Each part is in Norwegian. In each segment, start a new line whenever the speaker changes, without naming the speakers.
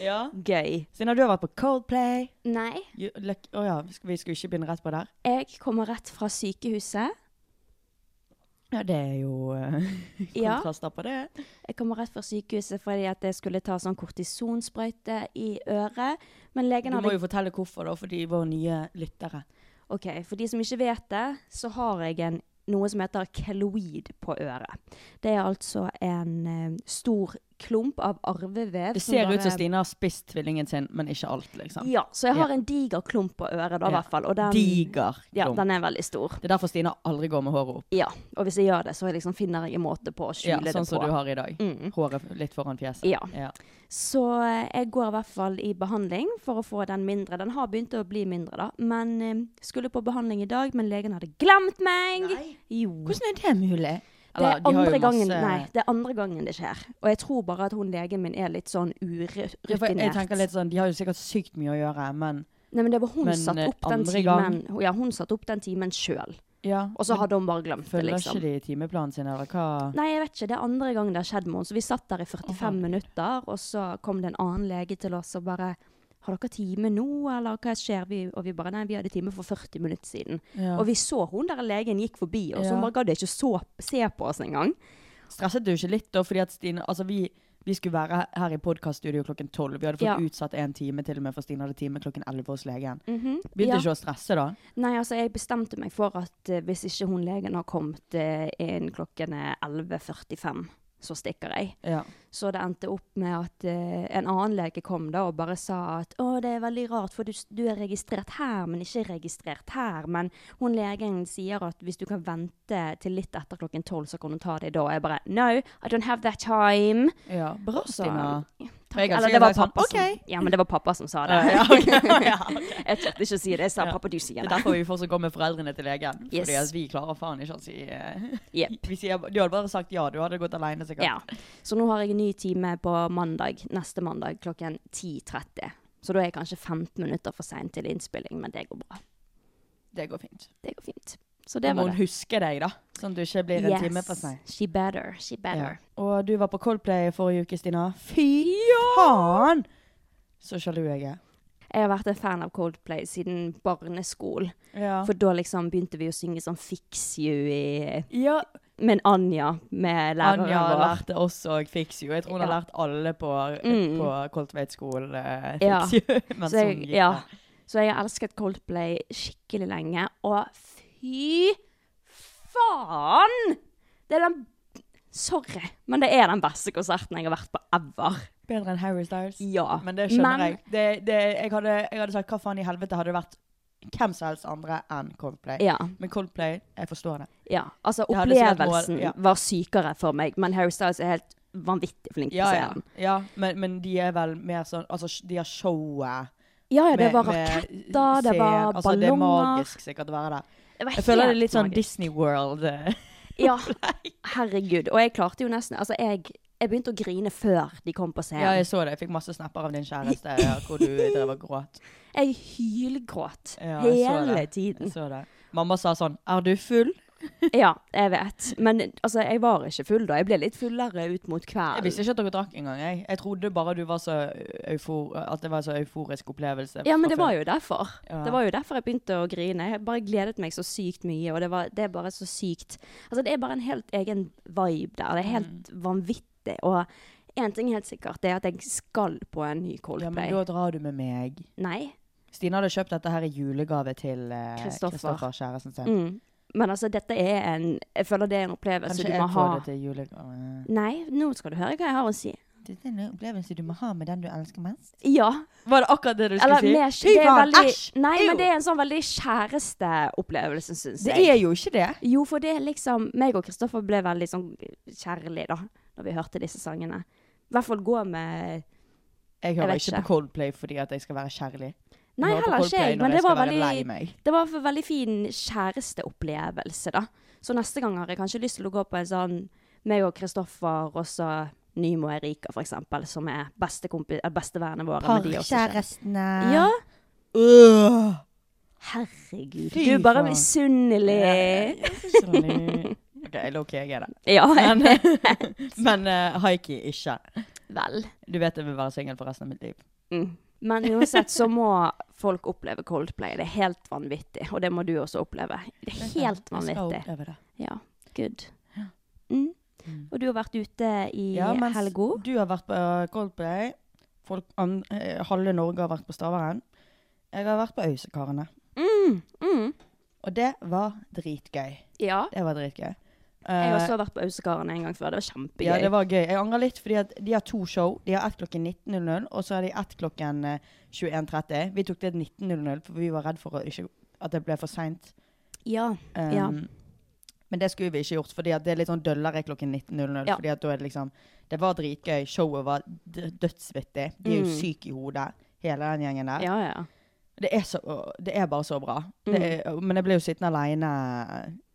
Ja.
Gøy.
Sina, du har vært på Coldplay.
Nei.
Å ja, vi skulle- vi skulle ikke begynne rett på der.
Jeg kommer rett fra sykehuset.
Ja, det er jo eh,
Ja.
kontraster på det.
Jeg kommer rett fra sykehuset fordi at jeg skulle ta sånn kortisonsprøyte i øret. Men legen
Du må
hadde
jo fortelle hvorfor, da, for de våre nye lyttere.
Ok, for de som ikke vet det, så har jeg en, noe som heter keloid på øret. Det er altså en eh, stor klump av arvevev.
Det
som
ser ut som
bare-
Stine har spist tvillingen sin, men ikke alt, liksom.
Ja, så jeg har
Ja.
en diger klump på øret da, i
Ja.
hvert fall. Og den,
Diger.
Ja,
klump.
den er veldig stor.
Det er derfor Stine aldri går med håret opp.
Ja, og hvis jeg gjør det, så liksom finner jeg en måte på å
Ja, sånn
skjule det på.
som du har i dag.
Mm.
Håret litt foran fjeset.
Ja.
ja.
Så eh, jeg går i hvert fall i behandling for å få den mindre. Den har begynt å bli mindre, da. Men eh, skulle på behandling i dag, men legen hadde glemt meg!
Nei.
Jo.
Hvordan er det mulig?
Det er,
Eller, de har jo
andre gangen,
masse-
nei, det er andre gangen det skjer. Og jeg tror bare at hun legen min er litt sånn
Ja, for jeg tenker
urutinert.
litt sånn, De har jo sikkert sykt mye å gjøre, men
Nei, men det var hun
Men,
satt
eh,
opp den
andre
timen
gang-
Ja, hun satt opp den timen sjøl.
ja,
Og så hadde hun bare glemt det,
Følger
liksom.
ikke de timeplanen sin, eller hva?
Nei, jeg vet ikke. Det er andre gangen det har skjedd med henne. Så vi satt der i 45
Å, herregud.
minutter, og så kom det en annen lege til oss og bare har dere time nå, eller hva skjer? Vi, og vi bare nei, vi hadde time for 40 minutter siden.
Ja.
Og vi så hun der legen gikk forbi, og så
Ja.
hun bare gadd ikke så, se på oss engang.
Stresset du ikke litt da? Fordi at Stine, altså vi, vi skulle være her i podkaststudio klokken tolv. Vi hadde fått
Ja.
utsatt en time til og med, for Stine hadde time klokken elleve hos legen.
Mhm.
Begynte
Ja.
ikke å stresse da?
Nei, altså jeg bestemte meg for at eh, hvis ikke hun legen har kommet eh, inn klokken er 11.45, så stikker jeg.
Ja.
Så det endte opp med at eh, en annen lege kom da og bare sa at å, det er veldig rart, for du, s- du er registrert her, men ikke registrert her. Men hun legen sier at hvis du kan vente til litt etter klokken tolv, så kan hun ta deg da. Og jeg bare no, I don't have that time.
ja. Bra,
Så-
Stine.
Takk.
Jeg er
Eller
sikkert
det var
sånn,
pappa
«Ok».
som Ja, men det var pappa som sa det.
Ja, ja, ok. Ja, ok.
jeg turte ikke å si det. Jeg sa
Ja.
pappa, du sier
Det
det.
er derfor vi fortsatt går med foreldrene til legen.
Yes.
Fordi at vi klarer faen ikke å si eh,
Jep.
vi sier, Du hadde bare sagt ja, du hadde gått alene sikkert.
Ja. Så nå har jeg en ny time på mandag, neste mandag klokken 10.30. Så da er jeg kanskje 15 minutter for sein til innspilling, men det går bra.
Det går fint.
Det går fint. Så
Det
det
må
var
hun
det.
huske deg, da. Sånn at du ikke blir en time for seg.
She better. She better.
Og du var på Coldplay forrige uke, Stina. Fy faen! Så sjalu jeg er.
Jeg har vært en fan av Coldplay siden barneskolen.
Ja.
For da liksom begynte vi å synge sånn Fix You i
ja,
Men Anja med læreren
Anja har
vår.
lært det også, og Fix You. Jeg tror hun har
Ja.
lært alle på,
Mm.
på Coldtveit skole eh,
Ja.
Fix You. Mens
Så jeg,
hun sånn gikk
ja.
der.
Så jeg har elsket Coldplay skikkelig lenge, og fy faen! Det er den Sorry, men det er den beste konserten jeg har vært på ever.
Bedre enn Harry Styles.
Ja.
Men det skjønner
Men-
jeg. Det, det, jeg, hadde, jeg hadde sagt hva faen i helvete hadde det vært hvem som helst andre enn Coldplay.
Ja.
Men Coldplay, jeg forstår det.
ja. Altså,
Det hadde sikkert vært-
opplevelsen
ja.
var sykere for meg, men Harry Styles er helt vanvittig flink på
Ja, ja.
scenen.
ja men, men de er vel mer sånn Altså, de har showet.
Ja, ja,
med-
det var
med
raketter, det
scenen.
var
altså, Det er
ballonger.
magisk sikkert å være der.
Det var
Jeg føler det er
helt
litt sånn
magisk.
Disney World. eh.
Ja, herregud. Og jeg klarte jo nesten Altså, jeg, jeg begynte å grine før de kom på
Ja,
scenen.
jeg så det. Jeg fikk masse snapper av din kjæreste ja, hvor du drev og gråt.
Jeg hylgråt
Ja, jeg så
hele
det.
tiden.
Jeg så det. Mamma sa sånn 'Er du full?'
Ja, jeg vet. Men altså, jeg var ikke full da. Jeg ble litt fullere ut mot
Jeg
kvelden.
visste ikke at dere drakk engang. Jeg Jeg trodde bare du var så eufor, at det var en så euforisk opplevelse.
Ja, men det
fra
var
før.
jo derfor.
Ja.
Det var jo derfor jeg begynte å grine. Jeg bare gledet meg så sykt mye, og det, var, det er bare så sykt Altså, det er bare en helt egen vibe der. Det er helt
Mm.
vanvittig. Og én ting er helt sikkert, det er at jeg skal på en ny
Ja,
Coldplay.
men da drar du med meg.
Nei.
Stine hadde kjøpt dette her i julegave til eh,
Kristoffer.
Kristoffer, kjæresten sin.
Mm. Men altså, dette er en Jeg føler det er en opplevelse
Kanskje
du må
jeg
ha.
får det til julegave.
Nei, nå skal du høre hva jeg har å si.
Dette er en opplevelse du må ha med den du elsker mest.
Ja.
Var det akkurat det du skulle
Eller mer
si?
det er veldig,
æsj!
Nei,
Ew!
men det er en sånn veldig kjæresteopplevelse, syns
Det
jeg.
er jo ikke det.
Jo, for det er liksom Meg og Kristoffer ble veldig sånn kjærlig da Når vi hørte disse sangene. I hvert fall gå med
Jeg hører
vet
ikke på
ikke.
Coldplay fordi at jeg skal være kjærlig.
Nei,
hører på
heller ikke
Coldplay
jeg.
når
Men
jeg
det var
skal være lei
veldig,
meg.
det var en veldig fin kjæresteopplevelse, da. Så neste gang har jeg kanskje lyst til å gå på en sånn meg og Kristoffer og så Nymo og Erika, for eksempel, som er bestekompi- eh, bestevennene våre. men de er også kjærester. Ja.
Øh.
Herregud.
Fy
du er bare
faen.
misunnelig.
OK, low-key, jeg er det.
Ja, jeg
Men, eh,
vet.
men eh, high-key ikke.
Vel.
Du vet jeg vil være singel for resten av mitt liv.
Mm. Men uansett så må folk oppleve Coldplay. Det er helt vanvittig. Og det må du også oppleve. Det er helt vanvittig. Ja. Good. Mm. Og du har vært ute i
Ja, mens
helga.
du har vært på eh, Coldplay. Folk, an, eh, halve Norge har vært på Stavern. Jeg har vært på Øysekarene.
Mm. Mm.
Og det var dritgøy.
Ja.
Det var dritgøy.
Jeg har
Eh,
også vært på Ausekarene en gang før. Det var kjempegøy.
Ja, det var gøy. Jeg angrer litt, fordi at de har to show. De har ett klokken 19.00, og så har de ett klokken eh, 21.30. Vi tok det 19.00, for vi var redd for å ikke, at det ble for seint.
ja.
Um,
Ja.
Men det skulle vi ikke gjort, fordi at det er litt sånn døllere klokken 19.00.
Ja.
fordi at da er det liksom Det var dritgøy. Showet var d- dødsvittig. De er jo
Mm.
syke i hodet, hele den gjengen der.
ja, ja.
Det, er så, det er bare så bra. Det
Mm.
er, men jeg ble jo sittende aleine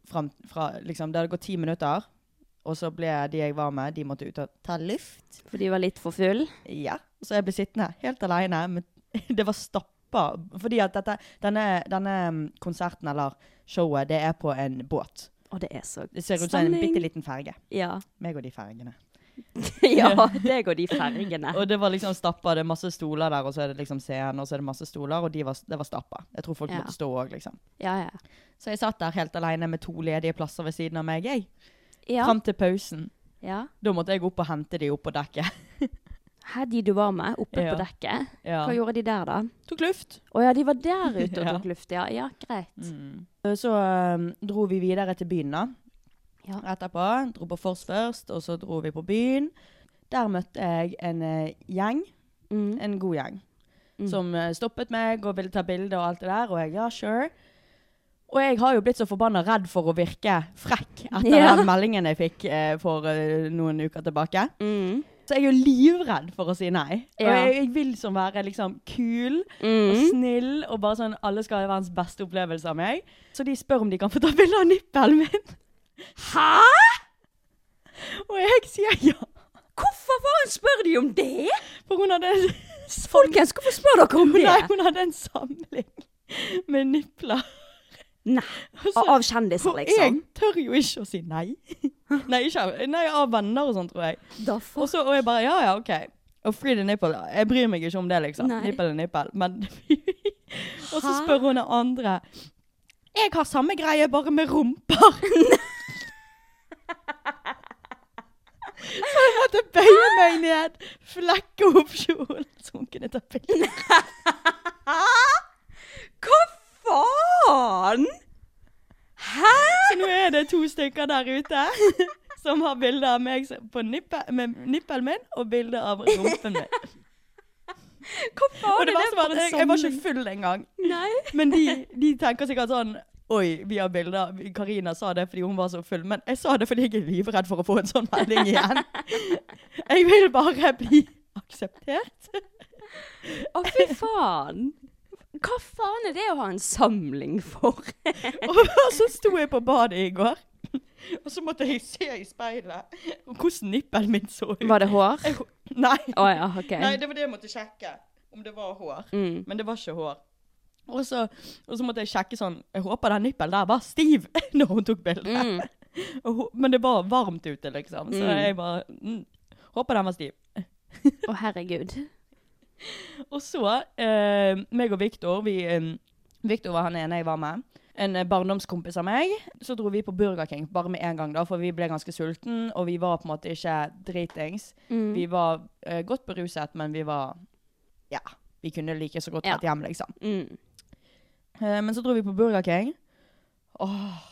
fram fra liksom, Det hadde gått ti minutter, og så ble de jeg var med, de måtte ut og ta luft.
For de var litt for full.
Ja. Så jeg ble sittende helt aleine. Men det var stappa. Fordi at dette, denne, denne mm, konserten, eller showet, det er på en båt.
Og det er så
Det ser ut som en
Stemning.
bitte liten ferge.
Ja.
Meg og de fergene.
ja, det går de fergene.
Og det var liksom stappa. Det er masse stoler der, og så er det liksom scenen, og så er det masse stoler, og de var, det var stappa. Jeg tror folk
Ja.
måtte stå òg, liksom.
Ja, ja.
Så jeg satt der helt alene med to ledige plasser ved siden av meg, jeg.
Ja.
Fram til pausen.
ja.
Da måtte jeg opp og hente de opp på dekket.
Her de du var med, oppe
Ja.
på dekket.
Ja.
Hva gjorde de der, da?
Tok luft.
Å ja, de var der ute og
Ja. Mm.
tok luft, ja. Ja, greit.
Eh, Så øhm, dro vi videre til byen da.
Ja.
Etterpå. Dro på Fors først, og så dro vi på byen. Der møtte jeg en eh, gjeng.
Mm.
En god gjeng. Som eh, stoppet meg og ville ta bilde og alt det der, og jeg ja, sure. Og jeg har jo blitt så forbanna redd for å virke frekk etter
Ja.
den meldingen jeg fikk eh, for eh, noen uker tilbake.
Mm.
Så jeg er jo livredd for å si nei. Og
Ja. Mhm.
jeg, jeg vil som være liksom kul og snill, og bare sånn alle skal ha verdens beste opplevelse av meg. Så de spør om de kan få ta bilde av nippelen min. Hæ?! Og jeg sier ja.
Hvorfor faen spør de om det?!
For hun hadde en,
Folkens, hvorfor spør dere om
nei,
det?!
hun hadde en samling med nipler.
Nei.
Altså,
Av av kjendiser,
Og jeg
liksom.
tør jo ikke å si nei. Nei, ikke, av- nei av venner og sånn, tror jeg.
Da
Og,
får
så, og jeg bare, ja, ja, ok. Og free the nipple, jeg bryr meg ikke om det, liksom.
Nei.
Nipple er nipple. Men Og så spør hun den andre. Jeg har samme greie, bare med rumper. så jeg måtte bøye meg ned, flekke opp kjolen, så hun kunne ta bilde.
Hva faen?! Hæ?!
Så nå er det to stykker der ute som har bilde av meg som- på nippe, med nippelen min og bilde av rumpen min.
Hva var
Og det
det,
verste var at
for en
jeg, jeg var ikke
sammenheng?
full engang.
Nei.
Men de, de tenker sikkert sånn Oi, vi har bilder. Karina sa det fordi hun var så full, men jeg sa det fordi jeg er livredd for å få en sånn melding igjen. Jeg vil bare bli akseptert.
Å, fy faen. Hva faen er det å ha en samling for?
Og så sto jeg på badet i går, og så måtte jeg se i speilet hvordan nippelen min så ut.
Var det hår?
Jeg- Nei.
Å ja, OK.
Nei, det var det jeg måtte sjekke. Om det var hår. Men det var ikke hår. Og så, og så måtte jeg sjekke sånn Jeg håper den nippelen der var stiv når hun tok bildet. Og hun- Men det var varmt ute, liksom. Så jeg bare mm, Håper den var stiv.
Å, herregud.
Og så, eh, meg og Viktor vi, eh, Viktor var han ene jeg var med. En eh, barndomskompis av meg. Så dro vi på Burger King bare med en gang, da, for vi ble ganske sulten, og vi var på en måte ikke dritings. Vi var eh, godt beruset, men vi var Ja, vi kunne like så godt
Ja.
vært hjemme, liksom.
Mm.
Eh, Men så dro vi på Burger King. Åh.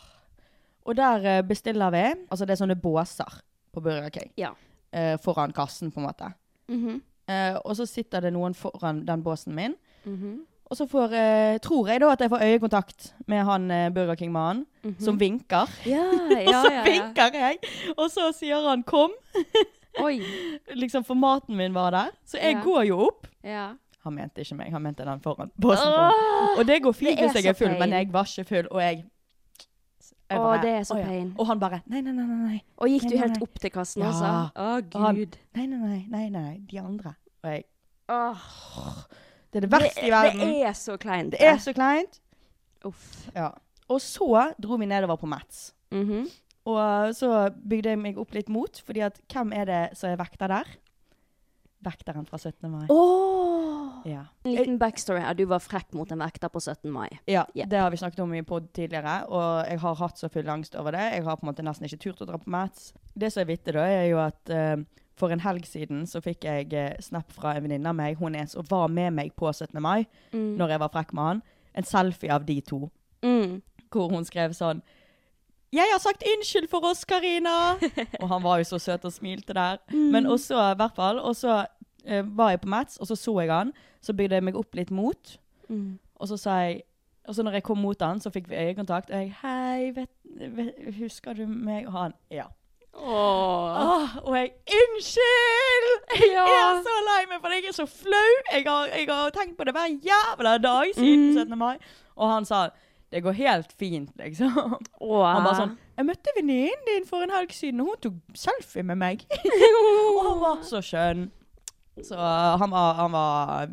Og der eh, bestiller vi Altså, det er sånne båser på Burger King.
Ja.
eh, foran kassen, på en måte.
Mhm.
Eh, og så sitter det noen foran den båsen min.
Mhm.
Og så får, eh, tror jeg da at jeg får øyekontakt med han eh, Burger King-mannen, som vinker.
Ja,
Og
Mhm. ja,
så
ja. ja.
vinker jeg, og så sier han 'kom',
Oi.
liksom for maten min var der. Så jeg
Ja.
går jo opp.
Ja.
Han mente ikke meg, han mente den foran båsen foran. Og det går fint
Det er
hvis jeg er
så
full, men
feil.
jeg var ikke full, og jeg, jeg
Å,
bare,
det er så
«Å ja».
pain.
Og han bare nei, nei, nei, nei. nei.
Og gikk du
Nei, nei,
helt
nei.
opp til kassen,
Ja.
altså? Å,
Og han,
gud.
nei, nei, nei, nei, nei, de andre. Og jeg,
Åh,
det er det
det,
verste i verden.
det er så kleint.
Det er så kleint.
Uff.
Ja. Og så dro vi nedover på Mats.
Mhm.
Og så bygde jeg meg opp litt mot, fordi at hvem er det som er vekter der? Vekteren fra 17. mai.
Åh!
Ja.
En liten backstory her. Du var frekk mot en vekter på 17. mai.
ja,
Yep.
det har vi snakket om i pod tidligere, og jeg har hatt så full angst over det. Jeg har på en måte nesten ikke turt å dra på Mats. Det som er vittig da, er jo at eh, for en helg siden så fikk jeg eh, snap fra en venninne av meg, hun er som var med meg på 17. mai, når jeg var frekk med han, en selfie av de to.
Mm.
hvor hun skrev sånn jeg har sagt unnskyld for oss, Karina! Og han var jo så søt og smilte der. Men også, i hvert fall, og så eh, var jeg på Mats, og så så jeg han. Så bygde jeg meg opp litt mot. Og så sa jeg Og så når jeg kom mot han, så fikk vi øyekontakt. Og jeg Hei, vet, vet, husker du meg? Og han Ja. Åh, og jeg Unnskyld! Jeg
Ja.
er så lei meg, for jeg er så flau. Jeg har, jeg har tenkt på det hver jævla dag
Mhm.
siden 17. mai. Og han sa det går helt fint, liksom. Han
Ah.
bare sånn Jeg møtte venninnen din for en helg siden, og hun tok selfie med meg. og han
Ah.
var så skjønn. Så eh, han var, han var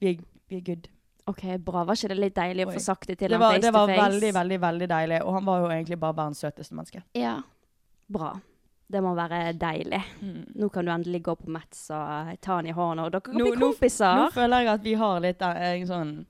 vi, er- vi er good.
OK, bra. Var ikke det litt deilig å
Oi.
få sagt det til
Det
ham
var,
face
det
to
var
face?
veldig, veldig veldig deilig. Og han var jo egentlig bare verdens søteste menneske.
Ja. Bra. Det må være deilig. Nå kan du endelig gå på Metz og ta han i hånda, og dere kan bli
Mm. nå, nå
kompiser.
føler jeg at vi har litt eh, en sånn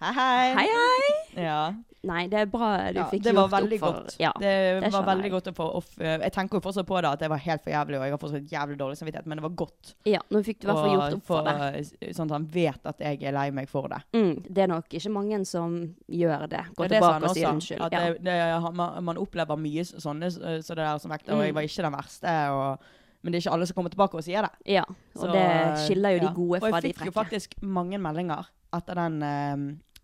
Hei, hei.
hei, hei!
Ja.
Nei, det er bra du
Ja,
fikk
det
gjort
var
opp
veldig
for
godt.
Ja,
det, var
skjønner
veldig
jeg.
godt å få off, eh, Jeg tenker jo fortsatt på det at det var helt for jævlig, og jeg har fortsatt jævlig dårlig samvittighet, men det var godt.
Ja, nå fikk du i hvert fall gjort opp for det.
det. Sånn at han vet at jeg er lei meg for det.
Mm, det er nok ikke mange som gjør det.
Ja,
Går
det sa han
tilbake og sier
også,
unnskyld.
At
Ja.
det, det, han- man, man opplever mye så- sånne eh, så det der som vekter, og
Mm.
jeg var ikke den verste. Og, men det er ikke alle som kommer tilbake og sier det.
ja, og
Så,
det skiller jo
ja.
de gode fra de
Og jeg fikk jo
frekke.
faktisk mange meldinger etter den, eh,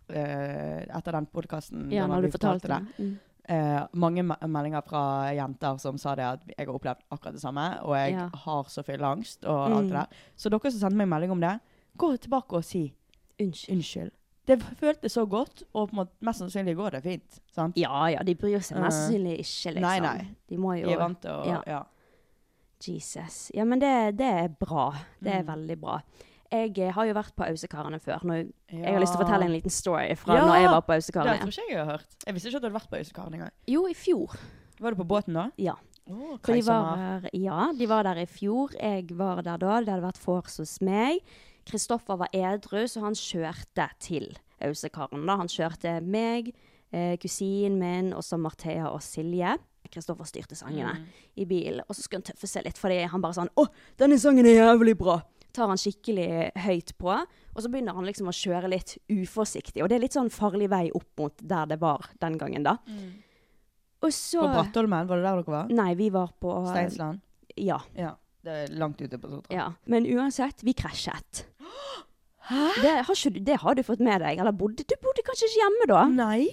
eh, etter Mm, den podkasten.
Ja, når du fortalte det. Mm.
Eh, mange me- meldinger fra jenter som sa det at jeg har opplevd akkurat det samme, og jeg
Ja. Mm.
har så full angst og alt det der. Så dere som sendte meg melding om det, gå tilbake og si
Unnskyld.
unnskyld. Det føltes så godt, og på en måte, mest sannsynlig går det fint. Sant?
Ja ja, de bryr seg mest sannsynlig ikke, liksom.
Eh, Nei, nei.
De må jo
Vi er vant til å
Ja.
ja.
Jesus. Ja, men det, det er bra. Det
Mm.
er veldig bra. Jeg eh, har jo vært på Ausekarene før. Når jeg, jeg har lyst til å fortelle en liten story fra
Ja!
når jeg var
Det
på
tror
Ausekarene.
ikke jeg jeg har hørt. Jeg visste ikke at du hadde vært på Øysekaren engang.
Jo, i fjor.
Var du på båten da?
Ja.
Oh,
For de var, her- ja, de var der i fjor. Jeg var der da. Det hadde vært vors hos meg. Kristoffer var edru, så han kjørte til Ausekaren. da. Han kjørte meg, eh, kusinen min og så Marthea og Silje. Kristoffer styrte sangene i bilen. Og så skulle han tøffe seg litt, fordi han bare sånn 'Å, denne sangen er jævlig bra!' Tar han skikkelig høyt på. Og så begynner han liksom å kjøre litt uforsiktig. Og det er litt sånn farlig vei opp mot der det var den gangen, da. Og Og så
På Brattholmen, var det der dere var?
Nei, vi var på
Steinsland?
Ja.
Ja. Det er langt ute på Sotra.
ja. Men uansett, vi krasjet. Det har, ikke, du- det har du fått med deg. Eller bodde Du bodde kanskje ikke hjemme da?
Nei.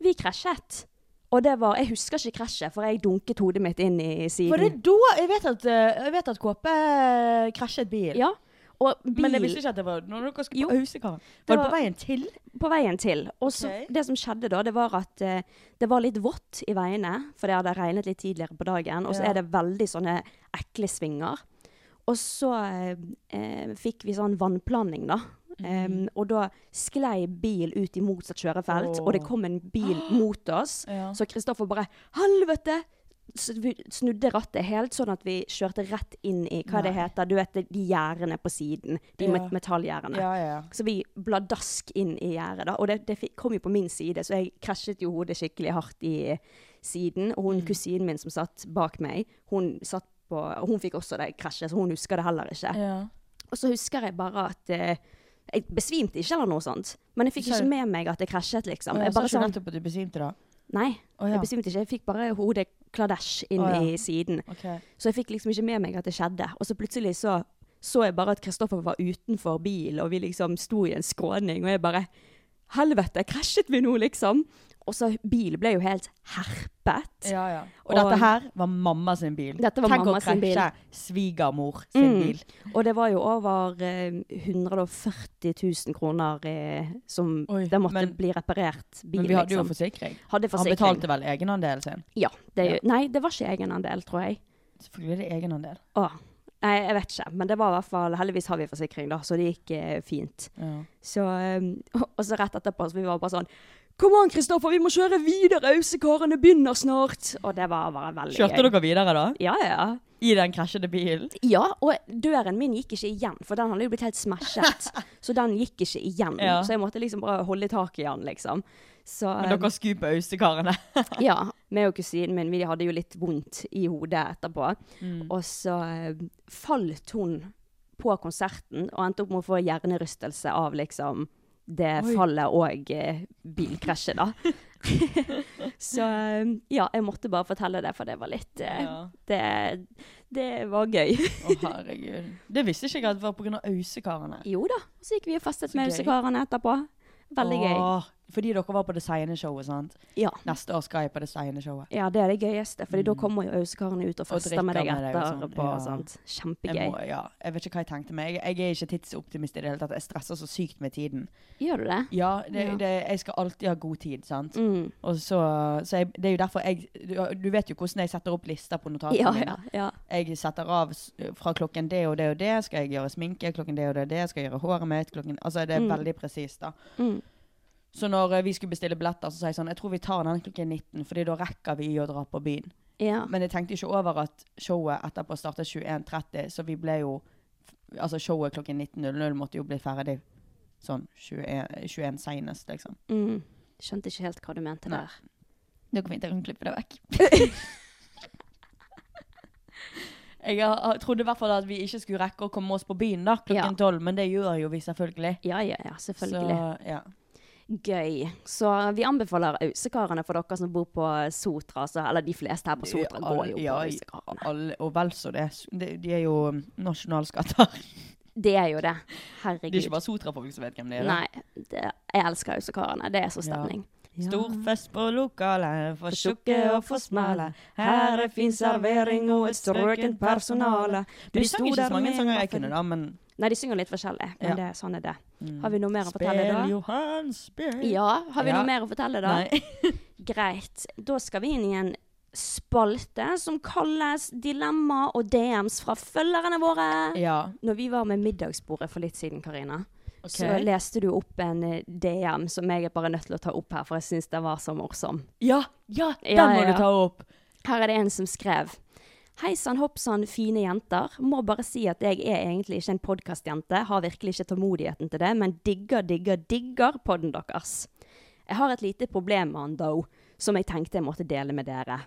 Vi krasjet. Og det var Jeg husker ikke krasjet, for jeg dunket hodet mitt inn i siden.
Var det da Jeg vet at, eh, jeg vet at KP krasjet bil.
Ja. Og bil
Men jeg visste ikke at det var når dere skulle
Jo.
på Ausekaren.
Det
Var det på
var-
veien til?
på veien til. Og så,
Ok.
det som skjedde da, det var at eh, det var litt vått i veiene, for det hadde regnet litt tidligere på dagen. Og så
Ja.
er det veldig sånne ekle svinger. Og så eh, eh, fikk vi sånn vannplaning, da.
Mhm.
Em, og da sklei bil ut i motsatt kjørefelt, og det kom en bil mot oss.
Ja.
Så Kristoffer bare 'Helvete!' Så vi snudde rattet helt, sånn at vi kjørte rett inn i hva det heter, du vet de gjerdene på siden. De
Ja.
met- metallgjerdene.
Ja, ja, ja.
Så vi bladask inn i gjerdet, da. Og det, det fikk- kom jo på min side, så jeg krasjet jo hodet skikkelig hardt i siden. Og
Mm.
hun kusinen min som satt bak meg, hun satt på og Hun fikk også det krasjet, så hun husker det heller ikke.
ja.
Og så husker jeg bare at eh, Jeg besvimte ikke eller noe sånt, men jeg fikk
Så-
ikke med meg at jeg krasjet, liksom.
Jeg
Jeg
sa
bare
ikke
sånn
nettopp at du besvimte da.
Nei,
Å, ja.
jeg besvimte ikke. Jeg fikk bare hodet kladæsj inn
Å, ja.
i siden.
Ok.
Så jeg fikk liksom ikke med meg at det skjedde. Og så plutselig så, så jeg bare at Kristoffer var utenfor bil, og vi liksom sto i en skråning, og jeg bare Helvete, krasjet vi nå, liksom? Og så bilen ble jo helt herpet.
Ja, ja. Og,
Og-
dette her var mamma sin bil.
Dette var
Tenk
mamma sin bil.
å krasje svigermor sin
Mm.
bil.
Og det var jo over eh, 140 000 kroner eh, som
Oi,
det måtte
men-
bli reparert bil,
Men vi hadde jo
liksom.
forsikring.
Hadde
Han
forsikring.
betalte vel egenandelen sin?
Ja. Det, er jo- Nei, det var ikke egenandel, tror jeg.
Selvfølgelig er det egenandel.
Åh, nei, jeg vet ikke, men det var i hvert fall, heldigvis har vi forsikring da, så det gikk eh, fint.
Ja.
Så, um, og, og så rett etterpå, så vi var bare sånn, Kom an, Kristoffer, vi må kjøre videre, Ausekarene begynner snart. Og det var bare veldig
Kjørte
gøy.
dere videre da?
Ja, ja.
I den krasjede bilen?
Ja, og døren min gikk ikke igjen, for den hadde jo blitt helt smashet. så den gikk ikke igjen,
Ja.
så jeg måtte liksom bare holde tak i den, liksom. Så,
Men dere skuper austekarene.
Ja. Meg og kusinen min vi hadde jo litt vondt i hodet etterpå.
Mm.
Og så eh, falt hun på konserten og endte opp med å få hjernerystelse av liksom det fallet og eh, bilkrasjet, da. så eh, ja, jeg måtte bare fortelle det, for det var litt eh,
Ja.
det, det var gøy.
Å, herregud. Det visste ikke jeg at det var pga. ausekarene.
jo da, så gikk vi og festet
Så
med
gøy.
Ausekarene etterpå. Veldig gøy.
Åh, Fordi dere var på designshowet, sant?
Ja.
Neste år skal jeg på designshowet.
ja, det er det gøyeste, Fordi da kommer jo Ausekarene ut og fester
Mm. drikker
med deg
med deg og sånn,
etterpå.
ja.
og sånt.
Jeg,
Kjempegøy.
må, ja. jeg vet ikke hva jeg tenkte meg. Jeg, jeg er ikke tidsoptimist i det hele tatt. Jeg stresser så sykt med tiden.
Gjør du det?
Ja, det,
Ja.
Det, jeg skal alltid ha god tid, sant.
Mm.
Og så, så jeg, det er jo derfor jeg du, du vet jo hvordan jeg setter opp lister på notatene
Ja,
mine.
ja, ja.
jeg setter av s- eh, fra klokken det og det og det, skal jeg gjøre sminke, klokken det og det og det, skal jeg gjøre håret mitt, klokken Altså, det er veldig presist, da.
Mm.
Så når eh, vi skulle bestille billetter, så sa jeg sånn Jeg tror vi tar den klokken 19, fordi da rekker vi å dra på byen.
ja.
Men jeg tenkte ikke over at showet etterpå startet 21.30, så vi ble jo Altså, showet klokken 19.00 måtte jo bli ferdig sånn 21, 21 senest, liksom.
Mm. Skjønte ikke helt hva du mente
Nei.
der.
Du kan fint jeg kan klippe det vekk. jeg har- har- trodde i hvert fall at vi ikke skulle rekke å komme oss på byen da, klokken
Ja.
tolv, men det gjør jo vi selvfølgelig.
Ja, ja, ja, selvfølgelig.
Så, ja.
Gøy. Så eh, vi anbefaler Ausekarene for dere som bor på Sotra, så, eller de fleste her på Sotra går jo på
Ja,
Ausekarene.
alle- og vel så det. S- De, de er jo um, nasjonalskatter.
Det er jo det.
Det er ikke
Herregud.
bare Sotra-folk som vet hvem det er. da.
Nei, det, jeg elsker Ausekarene. Det er så stemning.
Stor fest på lokalet, for tjukke og for smale. Her er fin servering og et strøkent personale. Men de sang ikke så mange sanger jeg kunne, da, men
Nei, de synger litt forskjellig, men
Ja.
det, sånn er det. Har vi noe mer å fortelle da?
Johan, spill!
Ja, har vi
Ja.
noe mer å fortelle da?
Nei.
Greit. Da skal vi inn i en spalte som kalles Dilemma og DMs fra følgerne våre.
Ja.
Når vi var med middagsbordet for litt siden, Karina,
Ok.
så leste du opp en eh, DM som jeg er bare nødt til å ta opp her, for jeg syns den var så morsom.
Ja, ja, den
Ja,
må
ja, ja.
du ta opp.
Her er det en som skrev. Hei sann, hopp sann, fine jenter. Må bare si at jeg er egentlig ikke en podkastjente. Har virkelig ikke tålmodigheten til det, men digger, digger, digger podden deres. Jeg har et lite problem med han, though, som jeg tenkte jeg måtte dele med dere.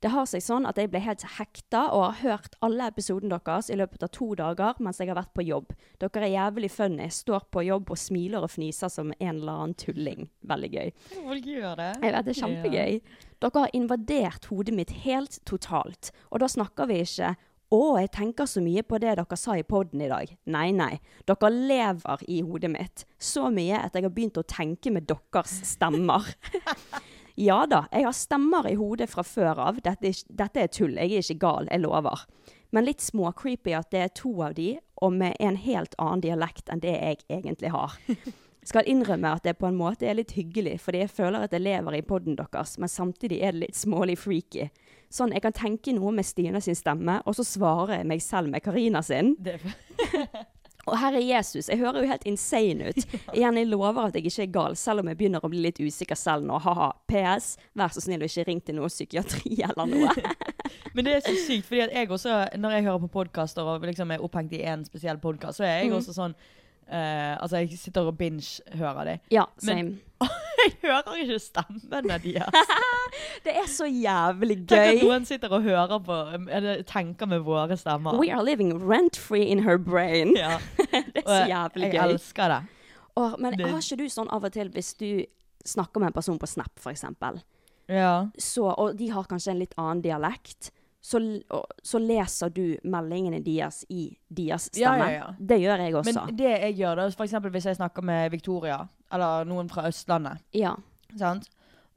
Det har seg sånn at jeg ble helt hekta og har hørt alle episoden deres i løpet av to dager mens jeg har vært på jobb. Dere er jævlig funny. Står på jobb og smiler og fniser som en eller annen tulling. Veldig gøy.
Folk gjør det.
Jeg vet, det er kjempegøy. Dere har invadert hodet mitt helt totalt. Og da snakker vi ikke 'Å, jeg tenker så mye på det dere sa i poden i dag'. Nei, nei. Dere lever i hodet mitt. Så mye at jeg har begynt å tenke med deres stemmer. Ja da, jeg har stemmer i hodet fra før av. Dette er, ikke- dette er tull, jeg er ikke gal, jeg lover. Men litt småcreepy at det er to av de, og med en helt annen dialekt enn det jeg egentlig har. Skal innrømme at det på en måte er litt hyggelig, fordi jeg føler at jeg lever i podden deres, men samtidig er det litt smålig freaky. Sånn, jeg kan tenke noe med Stina sin stemme, og så svarer jeg meg selv med Karina sin.
Det er-
Og herre Jesus, jeg hører jo helt insane ut. Igjen, jeg lover at jeg ikke er gal, selv om jeg begynner å bli litt usikker selv nå. Haha. PS, vær så snill og ikke ring til noe psykiatri eller noe.
Men det er så sykt, fordi at jeg også, når jeg hører på podkaster og liksom er opphengt i én spesiell podkast, så er jeg også sånn eh, Altså, jeg sitter og binge-hører dem.
Ja,
Men-
same.
Jeg hører ikke stemmene deres.
Det er så jævlig
Tenk at
gøy.
noen sitter og hører på Eller tenker med våre stemmer.
We are living rent-free in her brain.
Ja.
Det er så
Og
jævlig
Jeg
gøy.
elsker det.
Og, men
Det-
har ikke du sånn av og til hvis du snakker med en person på Snap, for eksempel,
Ja.
så, og de har kanskje en litt annen dialekt, så, l- og, så leser du meldingene deres i deres
Ja,
stemme.
ja, ja.
Det gjør jeg også.
Men det jeg gjør, da, for eksempel hvis jeg snakker med Victoria, eller noen fra Østlandet,
ja.
sant?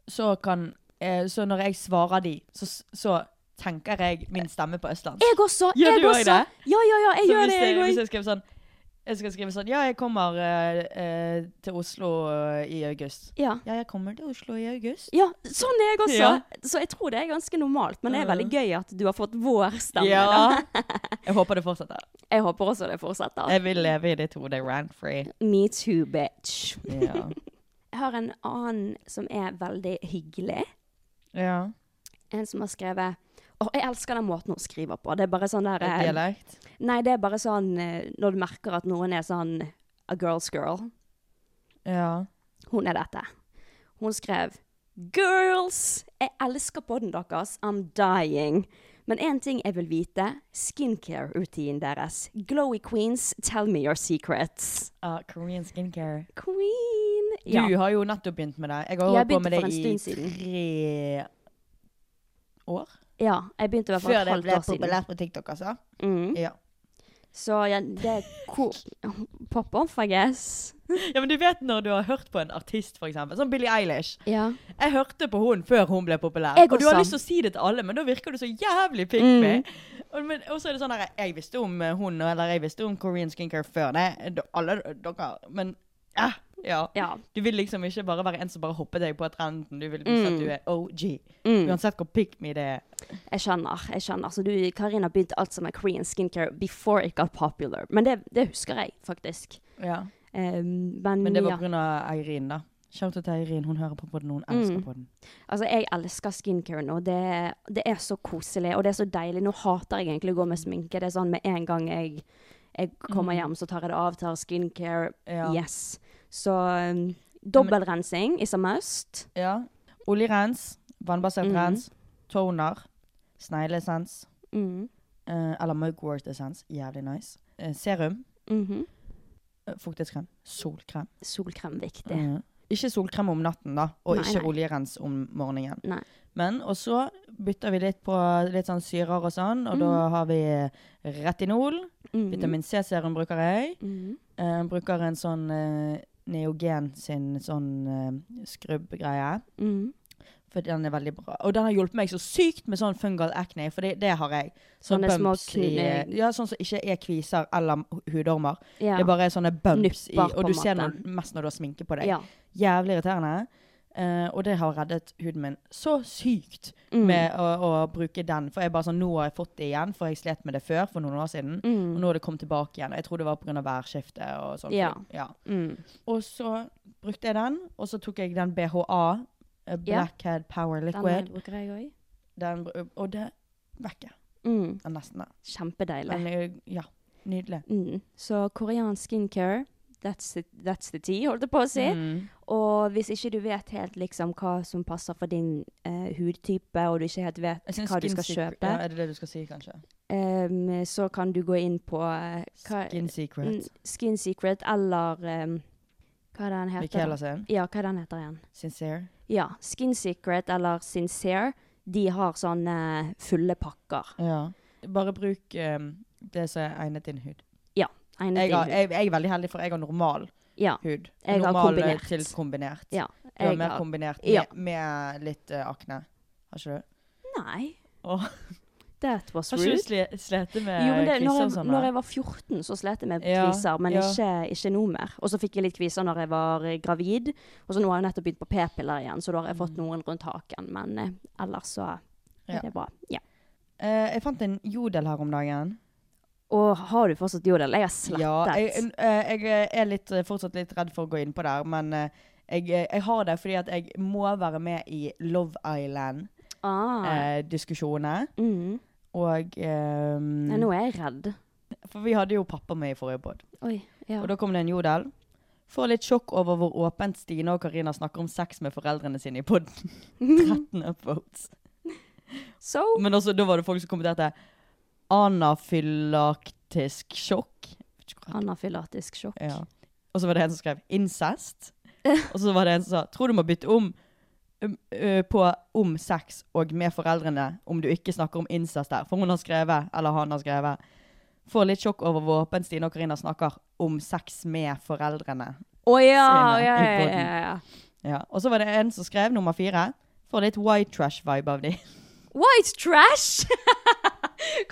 Så, kan, eh, så når jeg svarer de, så, så tenker jeg min stemme på østlandsk.
Jeg også!
Gjør
jeg
du også
også!
det?
Ja, ja, ja, jeg
Så
gjør
hvis
det,
jeg,
jeg
hvis
òg.
jeg skriver sånn jeg skal skrive sånn Ja, jeg kommer eh, eh, til Oslo eh, i august.
Ja.
Ja, jeg kommer til Oslo i august.
ja, sånn er jeg også.
Ja.
Så jeg tror det er ganske normalt, men det er veldig gøy at du har fått vår stemme.
Ja.
Da.
Jeg håper det fortsetter.
Jeg håper også det fortsetter.
Jeg vil leve i ditt hode rant-free.
Me too, bitch.
Ja.
Jeg har en annen som er veldig hyggelig.
ja.
En som har skrevet Åh, jeg elsker den måten hun skriver på. Det er bare sånn der
Det er
eh,
dialekt.
Nei, det er bare sånn eh, når du merker at noen er sånn a girl's girl.
Ja.
Hun er dette. Hun skrev Girls! Jeg elsker podden deres. I'm dying. Men én ting jeg vil vite. Skincare-rutinen deres. Glowy queens, tell me your secrets.
Ah, Korean skincare.
Queen!
Du har jo nettopp begynt med det. Jeg har
Jeg
holdt på
begynte
med
for en
det i
stund siden.
tre år.
ja jeg begynte i hvert fall et halvt år siden.
på TikTok, altså.
Mm.
Ja.
Så ja, det er ko- Pop off, I guess.
ja, men du vet når du har hørt på en artist, for eksempel. Sånn Billie Eilish.
Ja.
Jeg hørte på hun før hun ble populær.
Jeg
og du har
også. Mm.
lyst til å si det til alle, men da virker du så jævlig pick me. Og, men, og så er det sånn her Jeg visste om eh, hun, eller jeg visste om Korean skincare før det. D- Alle d- dere Men eh, ja.
Ja.
Du vil liksom ikke bare være en som bare hopper deg på trenden. Du vil vise
Mm.
at du er OG. Uansett hvor pick me det er.
Jeg skjønner. jeg skjønner. Så du, Karina begynte alt som er Korean skincare before it got popular. Men det, det husker jeg faktisk.
Ja.
Eh, men,
Men det var
ja.
pga. Eirin, da. Shout out til Eirin. Hun hører på på den, hun elsker på den.
Altså, jeg elsker skincare nå. Det, det er så koselig, og det er så deilig. Nå hater jeg egentlig å gå med sminke. Det er sånn med en gang jeg, jeg kommer hjem, så tar jeg det av, tar skincare.
Mhm. Ja.
Yes. Så um, dobbeltrensing is a must.
Ja. Oljerens, vannbasert
Mhm.
rens, toner, snegleessens
Mm.
eh, eller mugwort-essens. Jævlig nice. Eh, serum,
Mhm.
eh, fuktighetskrem, solkrem.
Solkrem viktig.
Mhm. Ikke solkrem om natten, da, og
Nei,
ikke
nei.
oljerens om morgenen.
Nei.
Men, og så bytter vi litt på litt sånn syrer og sånn, og da har vi retinol.
Mhm.
Vitamin C-serum bruker jeg.
Mhm.
Eh, bruker en sånn eh, Neogen sin sånn eh, skrubbgreie.
Mhm.
For den er veldig bra. Og den har hjulpet meg så sykt med sånn fungal acne, for det, det har jeg. Sånn
Sånne små
bumps i eh,
kn-
Ja, sånn som ikke er kviser eller hu- hudormer.
Ja.
Det er bare sånne bumps i,
Nupper, på
og du
en
ser
måte.
noe mest når du har sminke på deg.
ja.
Jævlig irriterende. Eh, og det har reddet huden min så sykt
Mm.
med å, å bruke den. For jeg bare sånn, nå har jeg fått det igjen, for jeg slet med det før for noen år siden.
Mm.
Og nå har det kommet tilbake igjen. Og jeg tror det var pga. værskiftet og sånn.
Ja.
ja.
Mm.
Og så brukte jeg den, og så tok jeg den BHA, eh, Blackhead Power
Den her
Liquid.
bruker jeg òg.
Den, br- og det vekker
Mm.
den nesten. da.
Kjempedeilig.
Men eh, ja, nydelig.
Mm. Så koreansk skincare, that's, it, that's the tea, holdt jeg på å si. Og hvis ikke du vet helt liksom hva som passer for din eh, hudtype, og du ikke helt
Jeg
vet
synes
hva du skal
skin secret-
kjøpe,
Ja, er det det du skal si, kanskje?
em, så kan du gå inn på eh, hva-
Skin Secret.
Mm, Skin Secret eller em, Hva er det han heter? da?
Michaela sin.
Ja, hva er det han heter igjen?
Sincere.
Ja, Skin Secret eller Sincere. De har sånne fulle pakker.
Ja. Bare bruk eh, det som er egnet din hud.
Egnet
Jeg,
din
har,
hud.
jeg, jeg er veldig heldig, for jeg har normal
ja,
hud.
Jeg har
normal eh,
kombinert.
til kombinert.
ja.
Du har
Jeg
mer
har-
kombinert med,
Ja.
med litt eh, akne. Har ikke du?
Nei,
Åh.
that was
Har ikke
rude.
du sli- slitt med
Jo, men
kviser
det, når,
og
jeg,
sånn?
når
da?
jeg var 14, så slet jeg med
Ja,
kviser, men
ja.
ikke, ikke nå mer. Og så fikk jeg litt kviser når jeg var eh, gravid, og så nå har jeg nettopp begynt på p-piller igjen, så da har jeg fått noen rundt haken, men eh, ellers så
Mm. Ja.
er det bra. Ja.
Eh, jeg fant en jodel her om dagen.
Og har du fortsatt jodel? Jeg har
Ja, jeg,
slettet.
eh, jeg er litt, eh, fortsatt litt redd for å gå inn på der, men eh, jeg, eh, jeg har det fordi at jeg må være med i Love Eh,
ah.
Island-diskusjonene.
mm.
og eh,
Nei, nå er jeg redd.
For vi hadde jo pappa med i forrige pod.
Oi, ja.
Og da kom det en jodel. Får litt sjokk over hvor åpent Stine og Karina snakker om sex med foreldrene sine i poden. 13 upvotes.
So,
Men også, da var det folk som kommenterte anafylaktisk sjokk. Vet ikke hva det-
anafylatisk sjokk.
Ja. Og så var det en som skrev incest. Og så var det en som sa tror du må bytte om um, ø, på om sex og med foreldrene om du ikke snakker om incest der. For hun har skrevet, eller han har skrevet, får litt sjokk over hvor åpent Stine og Karina snakker om sex med foreldrene.
Å ja,
Sinne i
ja, ja,
podden.
ja, ja.
Ja. Og så var det en som skrev nummer fire. Får litt white trash-vibe av de.
White trash!